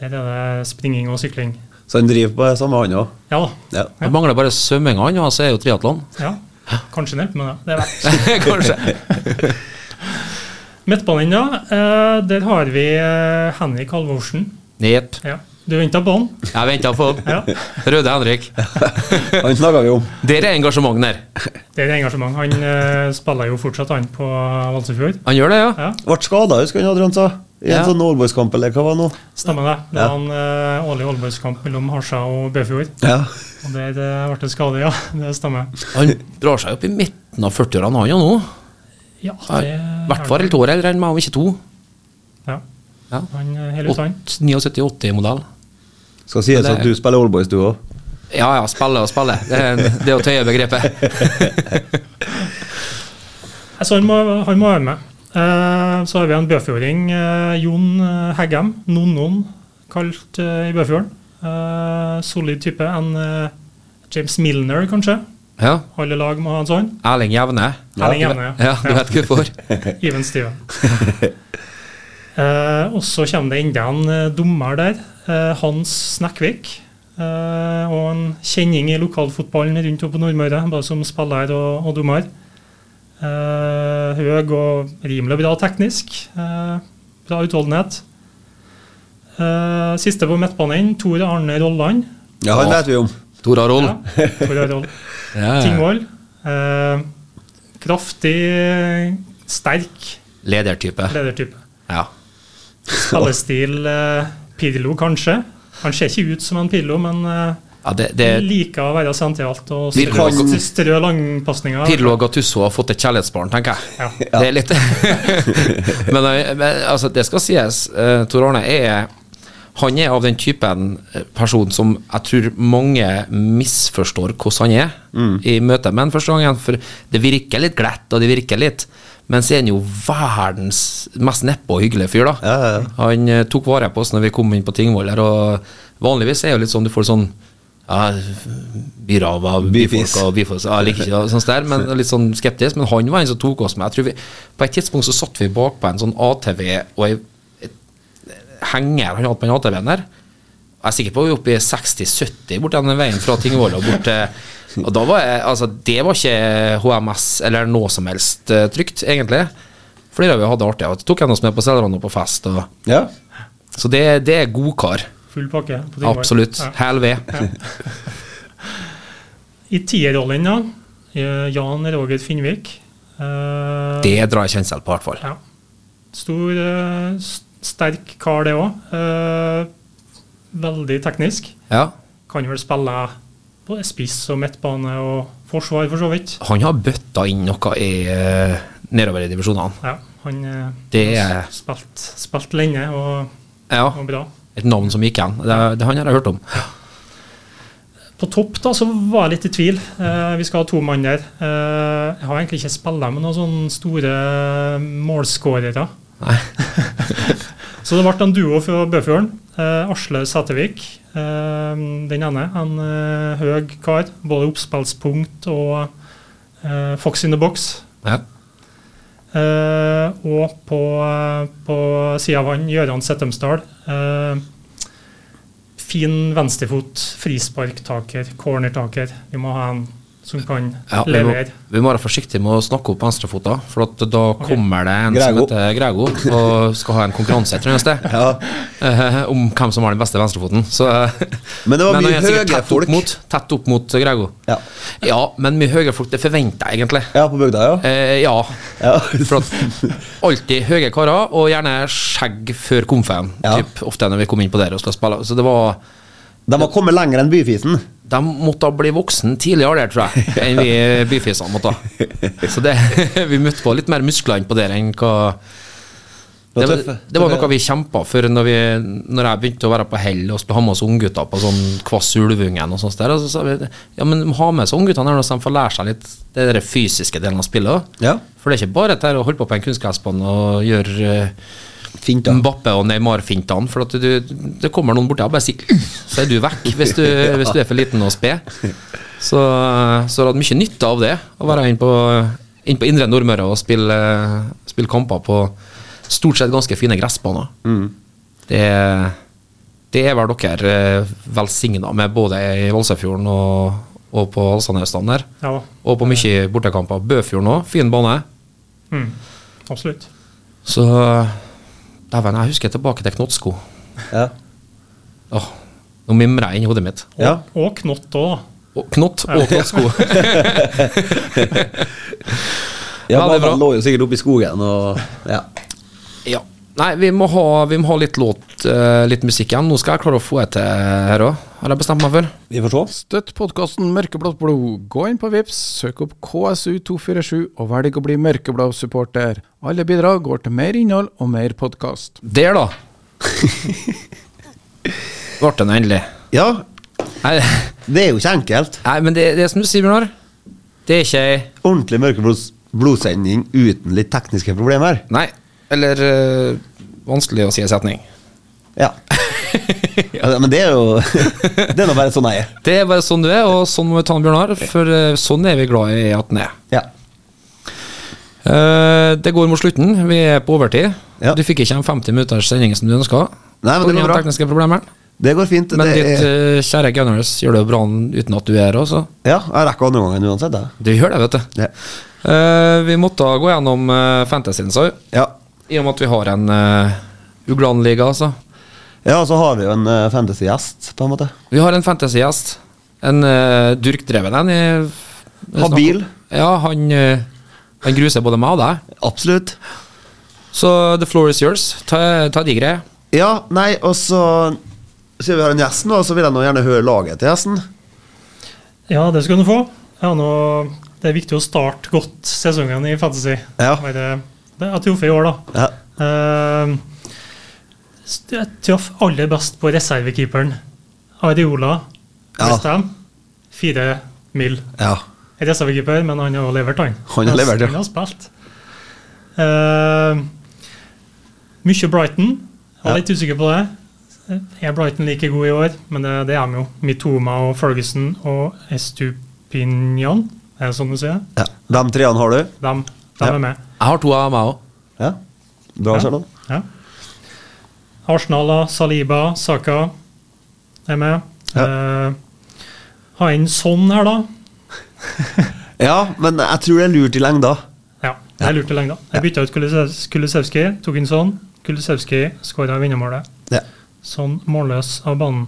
S6: Der er det springing og sykling.
S4: Så han driver på samme hånd òg.
S6: Ja da.
S4: Ja.
S3: Det mangler bare svømminga, han, og så er jo triatlon.
S6: Ja. Kanskje han hjelper med det. det er verdt.
S3: Kanskje.
S6: Midtbanen, da. eh, der har vi eh, Henrik Halvorsen.
S3: Jepp.
S6: Ja. Du venta på han?
S3: Jeg venta på
S6: Ja.
S3: Røde Henrik.
S4: Han snakka vi om.
S3: Der er engasjement der.
S6: Det er engasjement. Han eh, spiller jo fortsatt, han på Valsefjord.
S3: Han gjør det, ja.
S6: Ja,
S4: Ble skada, husker han Adrian sa. I en
S3: Ja.
S4: sånn Allboys-kamp, eller hva var det nå?
S6: stemmer det. Det
S4: Ja.
S6: var en eh, årlig oldboyskamp mellom Hasja og Bøfjord.
S4: Ja.
S6: Og der eh, ble det skade, ja. Det stemmer.
S3: Han drar seg opp i midten av 40-årene, han jo nå.
S6: Ja,
S3: I
S6: det
S3: hvert fall to år eldre enn meg, om ikke to.
S6: Ja.
S3: Ja.
S6: Han eh, holder ut, han.
S3: 79-80-modell.
S4: Skal sies
S3: Men det-
S4: at du spiller Allboys, du òg.
S3: Ja ja, spille og spille. Det er, det er å tøye begrepet.
S6: Nei, Så han må, han må være med. Eh, så har vi en bøfjording, eh, Jon eh, Heggem. Nonnon, kalt eh, i Bøfjorden. Eh, solid type. En eh, James Milner, kanskje.
S3: Ja.
S6: Alle lag må ha en sånn.
S3: Erling Jevne.
S6: Erling Jevne,
S3: Ja, du vet hva du får.
S6: Even Steven. Eh, og så kommer det enda en eh, dommer der, eh, Hans Snekvik. eh, og en kjenning i lokalfotballen rundt oppe på Nordmøre, både som spiller og, og dommer. Eh, høy og rimelig bra teknisk. eh, bra utholdenhet. Eh, siste på midtbanen, Tor Arne Rolland.
S4: Ja, han vet vi om.
S3: Tor Arold.
S6: Ja, Tor Arne Roll.
S3: Ja.
S6: Tingvoll. Eh, kraftig, sterk
S3: Ledertype.
S6: ledertype.
S3: Ja.
S6: Spillestil eh, Pirlo, kanskje. Han ser ikke ut som en Pirlo, men eh,
S3: ja det, det,
S6: liker å være sentralt og
S3: Vi
S6: strø,
S4: kan-
S6: strø langpasninger.
S3: Pirlo og Gattuso har fått et kjærlighetsbarn, tenker jeg.
S6: Ja.
S3: Det er litt men, eh, men altså, det skal sies. eh, Tor Arne er Han er av den typen eh, person som jeg tror mange misforstår hvordan han er
S4: Mm.
S3: i møte med han første gangen. For det virker litt glatt, og det virker litt Men så er han jo verdens mest nedpå og hyggelige fyr, da.
S4: Ja, ja, ja.
S3: Han eh, tok vare på oss når vi kom inn på Tingvoll her, og vanligvis er jo litt sånn du får sånn ja, Birava,
S4: Bifis.
S3: bifolka og bifos, ja, jeg liker ikke det, sånn der, men litt sånn skeptisk. Men han var en som tok oss med. Jeg tror vi, på et tidspunkt så satt vi bakpå en sånn ATV og ei henger han hadde på den ATV-en der. Jeg er sikker på vi er oppe i 60-70 bort den veien fra Tingvoll og bort til Og da var jeg, altså, det var ikke HMS eller noe som helst eh, trygt, egentlig. Flere av vi hadde det artig. Og tok han oss med på Selrand og på fest. Og,
S4: Ja.
S3: så det, det er godkar.
S6: Full pakke. på Tingvoll.
S3: Absolutt.
S6: Ja.
S3: Hæl ved.
S6: I tierrollen, da. eh, Jan Roger Finnvik. Eh,
S3: Det drar jeg kjensel på, i hvert fall.
S6: Ja. Stor, eh, s- sterk kar, det òg. veldig teknisk.
S3: Ja.
S6: Kan vel spille både spiss og midtbane og forsvar, for så vidt.
S3: Han har bøtta inn noe i, eh, nedover i divisjonene.
S6: Ja. Han eh,
S3: Det
S6: har
S3: er-
S6: s- spilt, spilt lenge og,
S3: Ja,
S6: og bra.
S3: et navn som gikk igjen. Det, det han har jeg hørt om.
S6: På topp da, så var jeg litt i tvil. Eh, vi skal ha to mann der. Eh, jeg har egentlig ikke spilt med noen sånne store eh, målskårere.
S3: Nei.
S6: så det ble en duo fra Bøfjorden. Eh, Asle Sætervik, eh, den ene. En eh, høg kar. Både oppspillspunkt og eh, Fox in the box.
S3: Ja.
S6: Eh, og på, på sida av han, Gøran Settemsdal. Eh, fin venstrefot, frisparktaker, cornertaker. Vi må ha en som kan
S3: Ja, vi, må,
S6: levere.
S3: vi må være forsiktige med å snakke opp venstrefota, for at da kommer det en
S4: Grego.
S3: som heter Grego og skal ha en konkurranse et eller annet sted eh, om hvem som har den beste venstrefoten. Så, eh,
S4: Men det var mye
S3: han er sikkert
S4: høye
S3: tett opp
S4: folk.
S3: Mot, tett opp mot Grego.
S4: Ja.
S3: Ja, men mye høyere folk, det forventer jeg egentlig.
S4: Ja, på bygda, ja.
S3: Eh, ja.
S4: Ja.
S3: For at alltid høye karer, og gjerne skjegg før komfen,
S4: Ja.
S3: typ, ofte når vi kom inn på der og skulle spille. Så det var
S4: De har kommet lenger enn byfisen.
S3: de måtte ha bli voksen tidligere der, tror jeg, enn vi byfisene måtte. ha. Så det, vi møtte på litt mer muskler innpå der enn hva det,
S4: Det var
S3: var-
S4: tøffe.
S3: det var noe vi kjempa for når, vi, når jeg begynte å være på hell og skulle ha med oss unggutter på sånn Kvass Ulvungen og sånt der. Og så sa vi ja, men ha med seg ungguttene her nå, så de får lære seg litt det der fysiske delen av spillet. også.
S4: Ja.
S3: For det er ikke bare dette her å holde på på en kunstgressbane og gjøre eh,
S4: Fint, da.
S3: Mbappe og Neymar-fintene. For at du, det kommer noen borti og bare sier «Uh», Så er du vekk hvis du, hvis du er for liten og sped. Så, så har jeg hatt mye nytte av det. Å være inne på, inn på indre Nordmøre og spille, spille kamper på stort sett ganske fine gressbaner. Det, det er vel dere eh, velsigna med både i Valsøyfjorden og, og på Alsandhaugstanden her.
S6: Ja,
S3: Og på mye bortekamper. Bøfjorden òg, fin bane.
S6: mm, absolutt.
S3: Så Dæven, jeg husker tilbake til Knotsko.
S4: Ja.
S3: Åh, nå mimrer jeg inni hodet mitt.
S4: ja.
S6: Og Knott òg,
S3: Og knott og knottsko.
S4: ja
S3: Ja, det er bra.
S4: han lå jo sikkert oppe i skogen og Ja.
S3: ja. Nei, vi må ha, vi må ha litt låt, eh, litt musikk igjen. Nå skal jeg klare å få det til her òg, har jeg bestemt meg for.
S4: Vi får se.
S5: Støtt podkasten Mørkeblått blod. Gå inn på Vips, søk opp KSU247 og velg å bli mørkeblå supporter. Alle bidrag går til mer innhold og mer podkast.
S3: Der, da. Ble det nå endelig.
S4: Ja,
S3: Nei,
S4: det er jo ikke enkelt.
S3: nei, men det, det er som du sier, Bjørnar. Det er ikke ei
S4: Ordentlig mørkeblods blodsending uten litt tekniske problemer.
S3: Nei. Eller eh, vanskelig å si en setning.
S4: Ja. ja. Men det er jo Det er nå bare sånn jeg er.
S3: Det er bare sånn du er, og sånn må vi ta den, Bjørnar. For eh, sånn er vi glad i at den er.
S4: Ja.
S3: Eh, det går mot slutten. Vi er på overtid.
S4: Ja.
S3: Du fikk ikke en 50 minutters sending som du ønska.
S4: Nei, men det går bra.
S3: tekniske problemer.
S4: Det går fint.
S3: Men
S4: det
S3: ditt
S4: er,
S3: eh, kjære Gunners gjør det jo bra uten at du er her også.
S4: ja, jeg rekker andre gangen uansett, jeg.
S3: Du gjør det, vet du.
S4: Ja.
S3: Eh, vi måtte gå gjennom uh, fantasyen, sa vi.
S4: Ja.
S3: I og med at vi har en uh, Uglan-liga, altså.
S4: ja, så har vi jo en eh, fantasy-gjest, på en måte.
S3: Vi har en fantasygjest. En eh, durkdreven en. i-
S4: Habil.
S3: Ja, han, eh, han gruser både meg og deg.
S4: Absolutt.
S3: Så the floor is yours. Ta, ta de greier.
S4: Ja, nei, og så Siden vi har en gjest nå, så vil jeg nå gjerne høre laget til gjesten.
S6: Ja, det skal du få. Ja, nå, det er viktig å starte godt sesongen i Fantasy.
S4: Ja.
S6: Bare- Det har jeg truffet i år, da.
S4: Ja.
S6: Eh, st- jeg traff aller best på reservekeeperen. Areola.
S4: Ja.
S6: Westham. Fire mil.
S4: ja.
S6: Reservekeeper, men han har jo levert, han.
S4: Han har levert, ja.
S6: Han har spilt. Eh, mye Brighton. Jeg var
S4: Ja.
S6: litt usikker på det. Er Brighton like god i år? Men det, det er de jo. Mitoma og Ferguson og Estupinian, er det sånn du sier?
S4: ja. De treene har du?
S6: Dem, dem
S4: Ja.
S6: er med.
S3: Jeg har to av meg òg.
S4: Ja. Bra, Kjartan.
S6: Ja. Arsenal, da, Saliba, Saka er med. Eh, ha inn sånn her, da.
S4: Ja, men jeg tror det er lurt i lengda.
S6: Ja, det er lurt i lengda. Jeg bytta ut Kulisev- Kulisevski, tok inn sånn. Kulisevski skåra vinnermålet.
S4: Ja.
S6: Sånn målløs av banen.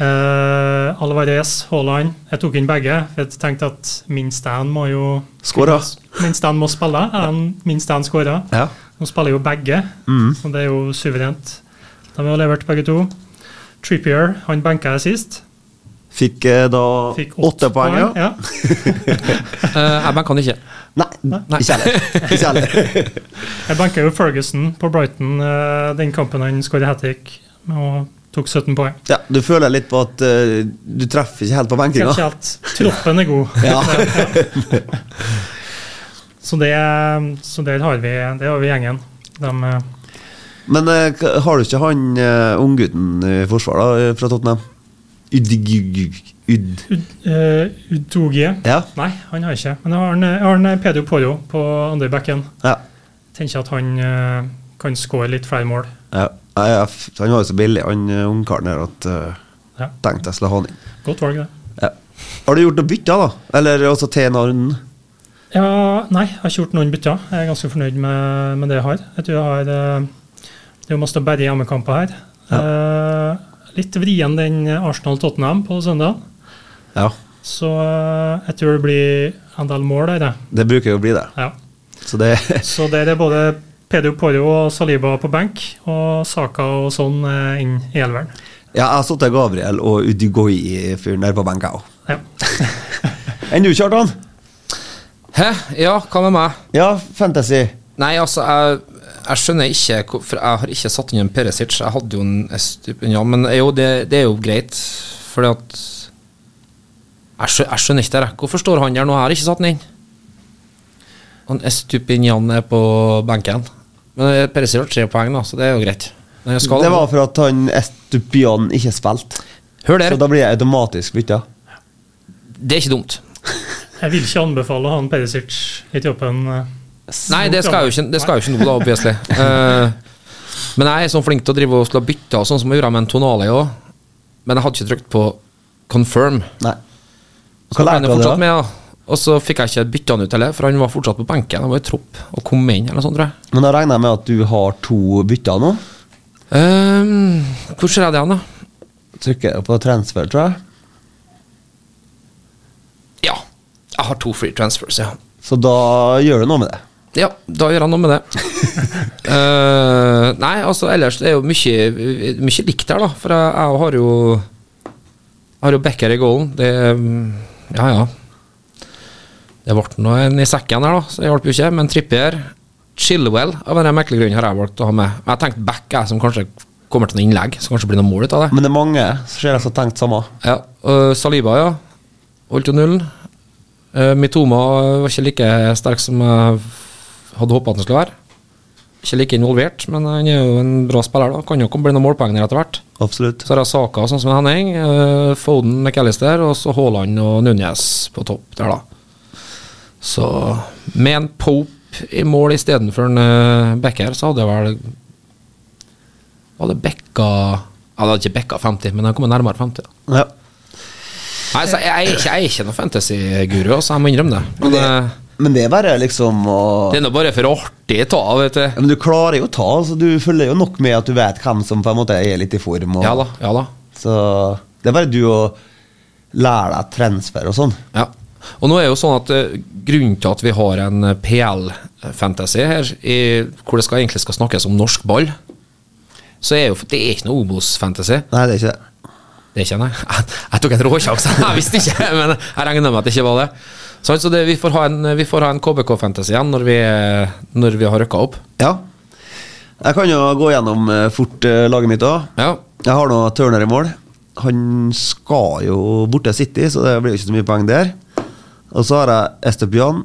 S6: Eh, Alvarez, Haaland. Jeg tok inn begge. for Jeg tenkte at minst én må jo
S4: Skåra.
S6: Minst én må spille. En, minst én skåra.
S4: Ja.
S6: Nå spiller jo begge, så det er jo suverent. De har levert begge to. Trippier, han benka jeg sist.
S4: Fikk eh, da
S6: Fikk
S4: åtte poeng, ja.
S6: ja.
S3: Eh, Eben kan ikke.
S4: Nei, ikke heller. Ikke heller.
S6: Jeg banka jo Ferguson på Brighton eh, den kampen han skåret hat trick og tok 17 poeng.
S4: Ja, du føler litt på at eh, du treffer ikke helt på benkinga.
S6: Kanskje alt. Troppen er god. Så, det, så der har vi, der har vi gjengen. De, eh,
S4: Men eh, k- har du ikke han uh, unggutten i forsvar da, eh, fra Tottenham? Udigugug... Ud...
S6: Ud- eh, Udogie
S4: Ja.
S6: Nei, han har jeg ikke. Men jeg har, en, jeg har en eh, Pedro Poro på andre bekken.
S4: Ja.
S6: Tenker at han eh, kan skåre litt flere mål.
S4: ja. Nei, jeg f- Han var jo så billig, han eh, ungkaren her, at eh,
S6: Ja.
S4: tenkte jeg skulle ha han inn.
S6: Godt valg, det.
S4: Ja. Har du gjort noe bytte, da? Eller også til en av runden?
S6: Ja, nei, jeg har ikke gjort noen bytter. Jeg er ganske fornøyd med, med det jeg har. Jeg tror jeg har eh, Det er jo masse å berge i hjemmekamper her. Eh, litt vrien den Arsenal-Tottenham på søndag.
S4: Ja.
S6: Så eh, jeg tror det blir en del mål der, jeg.
S4: Det bruker jo å bli det.
S6: ja.
S4: Så det
S6: Så der er både Pedro Poro og Saliba på benk, og Saka og sånn eh, inn i elveren.
S4: Ja, jeg har satt til Gabriel og Udigoi-fyren der på benka òg.
S6: Ja.
S4: Enn du, Kjartan?
S3: Hæ? Ja, hva med meg?
S4: Ja, Fantasy.
S3: Nei, altså, jeg, jeg skjønner ikke hvorfor Jeg har ikke satt inn en Peresic. Jeg hadde jo en Estup Ja, men jo, det, det er jo greit, fordi at Jeg, skjø, jeg skjønner ikke det. jeg. Hvorfor står han der nå? Jeg har ikke satt den inn. Han Estupinjan er på benken. Men Peresic har tre poeng, da, så det er jo greit. Men jeg skal,
S4: Det var for at han Estupian ikke spilte.
S3: Hør
S4: Så
S3: der,
S4: da blir jeg automatisk bytta.
S3: det er ikke dumt.
S6: Jeg vil ikke anbefale å ha en Perisic litt i åpen eh,
S3: Nei, det skal jeg jo ikke, det skal jeg jo ikke nå, da, obviously. Eh, men jeg er sånn flink til å drive og skulle ha bytta, og sånn som jeg gjorde med en Tonali òg. Men jeg hadde ikke trykt på confirm.
S4: Nei.
S3: Så
S4: Hva
S3: ble han
S4: lærte
S3: jo
S4: du
S3: fortsatt
S4: av det? da?
S3: med, ja. Og så fikk jeg ikke bytta han ut heller, for han var fortsatt på benken. Han var i tropp og kom inn, eller noe sånt, tror jeg.
S4: Men da regner jeg med at du har to bytter nå.
S3: Ehm, hvor ser jeg det hen, da?
S4: Trykker jeg på transfer, tror jeg.
S3: Ja, jeg har to free transfers, ja.
S4: Så da gjør du noe med det.
S3: Ja, da gjør han noe med det. Eh, nei, altså ellers det er jo mye, mye likt her, da. For jeg, jeg har jo jeg har jo Becker i goalen. Det mm, Ja, ja. Det ble nå en i sekken her, da, så det hjalp jo ikke. Men Trippier Chilwell av en merkelig grunn har jeg valgt å ha med. Men jeg tenkte Beck, jeg, som kanskje kommer til noen innlegg. Så kanskje det blir noe mål ut av det.
S4: Men det er mange som ser jeg som har tenkt samme.
S3: Ja, og Saliba, ja. Holdt jo nullen. Eh, Mitoma var ikke like sterk som jeg hadde håpa han skulle være. Ikke like involvert, men han er jo en bra spiller. da Kan jo komme bli noen målpoeng der etter hvert.
S4: Absolutt.
S3: Så har jeg Saka, sånn som Henning. eh, Foden, McAllister og så Haaland og Núñez på topp der, da. Så med en Pope i mål istedenfor en eh, Becker, så hadde jeg vel Hadde Bekka Jeg hadde ikke Bekka 50, men jeg kom nærmere 50. da
S4: Ja.
S3: Nei, så jeg, jeg, er ikke, jeg er ikke noen fantasy-guru, altså, jeg må innrømme det. Men eh,
S4: Men det er bare liksom å
S3: det er nå bare for artig å ta, vet
S4: Ja,
S3: du.
S4: Men du klarer jo å ta, så du følger jo nok med at du vet hvem som på en måte er litt i form. Og,
S3: Ja da, ja da.
S4: Så det er bare du å lære deg transfer og sånn.
S3: Ja. Og nå er jo sånn at eh, grunnen til at vi har en eh, PL-fantasy her, i, hvor det skal, egentlig skal snakkes om norsk ball, så er jo for det er ikke noe Obos-fantasy.
S4: Nei, det er ikke det.
S3: Det kjenner jeg. Jeg, jeg tok en råsjanse, jeg visste ikke, men jeg regner med at det ikke var det. Så, så det, vi får ha en, vi får ha en KBK-fantasy igjen når vi, når vi har røkka opp.
S4: Ja. Jeg kan jo gå gjennom eh, fort eh, laget mitt òg.
S3: Ja.
S4: Jeg har nå Turner i mål. Han skal jo bort til City, så det blir jo ikke så mye poeng der. Og så har jeg Estepian,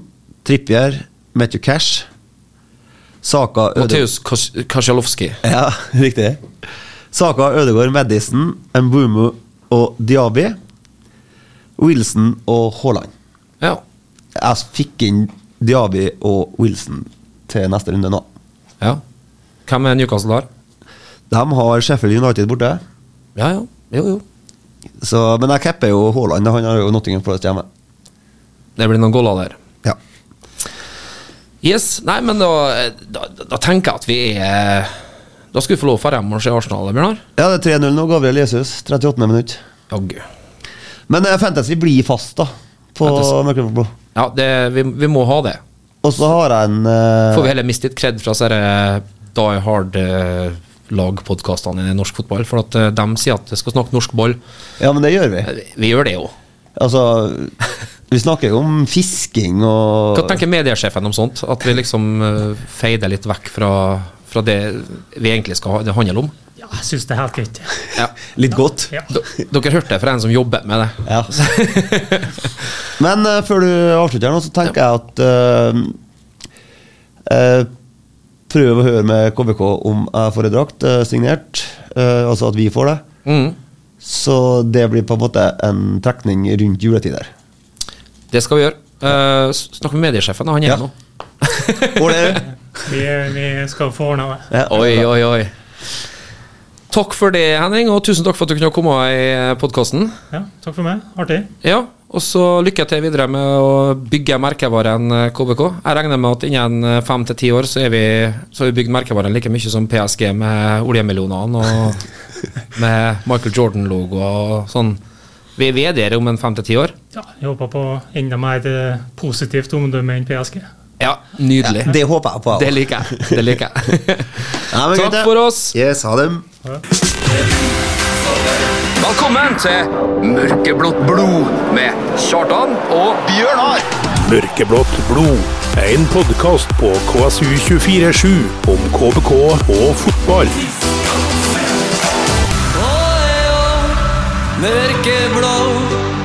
S4: Trippier, Matthew Cash, Saka Ødegaard-
S3: Matheus Kasjalowski.
S4: Ja, riktig. Saka, Ødegaard, Madison, Mbumu og Diaby. Wilson og Haaland.
S3: Ja.
S4: Jeg fikk inn Diaby og Wilson til neste runde nå.
S3: Ja. Hvem er Newcastle har?
S4: De har Sheffield United borte,
S3: Ja, ja. Jo, jo.
S4: så, men jeg capper jo Haaland. Han har jo Nottingham Forest hjemme.
S3: Det blir noen goller der.
S4: Ja.
S3: Yes. Nei, men da, da, da tenker jeg at vi er Da skal vi få lov for dem å se Arsenal, Bjørnar.
S4: ja, det er 3-0 nå. Gabriel Jesus, 38. minutt.
S3: Jaggu.
S4: Men eh, Fantasy blir fast, da. På
S3: Fantasy.
S4: Mørkeblå.
S3: Ja, det, vi, vi må ha det.
S4: Og så har jeg en eh,
S3: Får vi heller miste litt kred fra disse Die Hard eh, lagpodkastene i norsk fotball. For at eh, de sier at vi skal snakke norsk ball.
S4: Ja, men det gjør vi.
S3: Eh, Vi gjør det jo.
S4: Altså, vi snakker jo om fisking og
S3: Hva tenker mediesjefen om sånt? At vi liksom eh, feider litt vekk fra, fra det vi egentlig skal ha, det handler om?
S6: Ja, jeg syns det er helt greit.
S4: Litt godt.
S6: Ja.
S3: D dere hørte det fra en som jobber med det.
S4: Ja. Men eh, før du avslutter her nå, så tenker jeg at eh, eh, Prøv å høre med KBK om jeg får en drakt eh, signert, eh, altså at vi får det.
S3: Mm.
S4: Så det blir på en måte en trekning rundt juletider.
S3: Det skal vi gjøre. Eh, s- snakk med mediesjefen, da, han er
S4: Ja.
S3: ja. nå.
S4: Går det?
S6: Vi, vi skal få ordna det.
S4: Ja.
S3: Oi, oi, oi. Takk for det, Henning, og tusen takk for at du kunne komme i podkasten.
S6: Ja, takk for meg. Artig.
S3: Ja, og så lykke til videre med å bygge merkevaren eh, KBK. Jeg regner med at innen eh, fem til ti år så, er vi, så har vi bygd merkevaren like mye som PSG med oljemillionene og med Michael Jordan-logoer og sånn. Vi vi er der om en fem til ti år.
S6: Ja, jeg håper på enda mer eh, positivt omdømme enn PSG.
S3: Ja, nydelig.
S4: Det håper jeg på.
S3: Det liker jeg. Det liker jeg.
S4: Nei, men
S3: Takk
S4: greit, det.
S3: for oss.
S4: Yes, ha det.
S1: Velkommen til Mørkeblått blod med Kjartan og Bjørnar.
S2: Mørkeblått blod er en podkast på KSU247 om KBK og fotball.
S8: Mørkeblå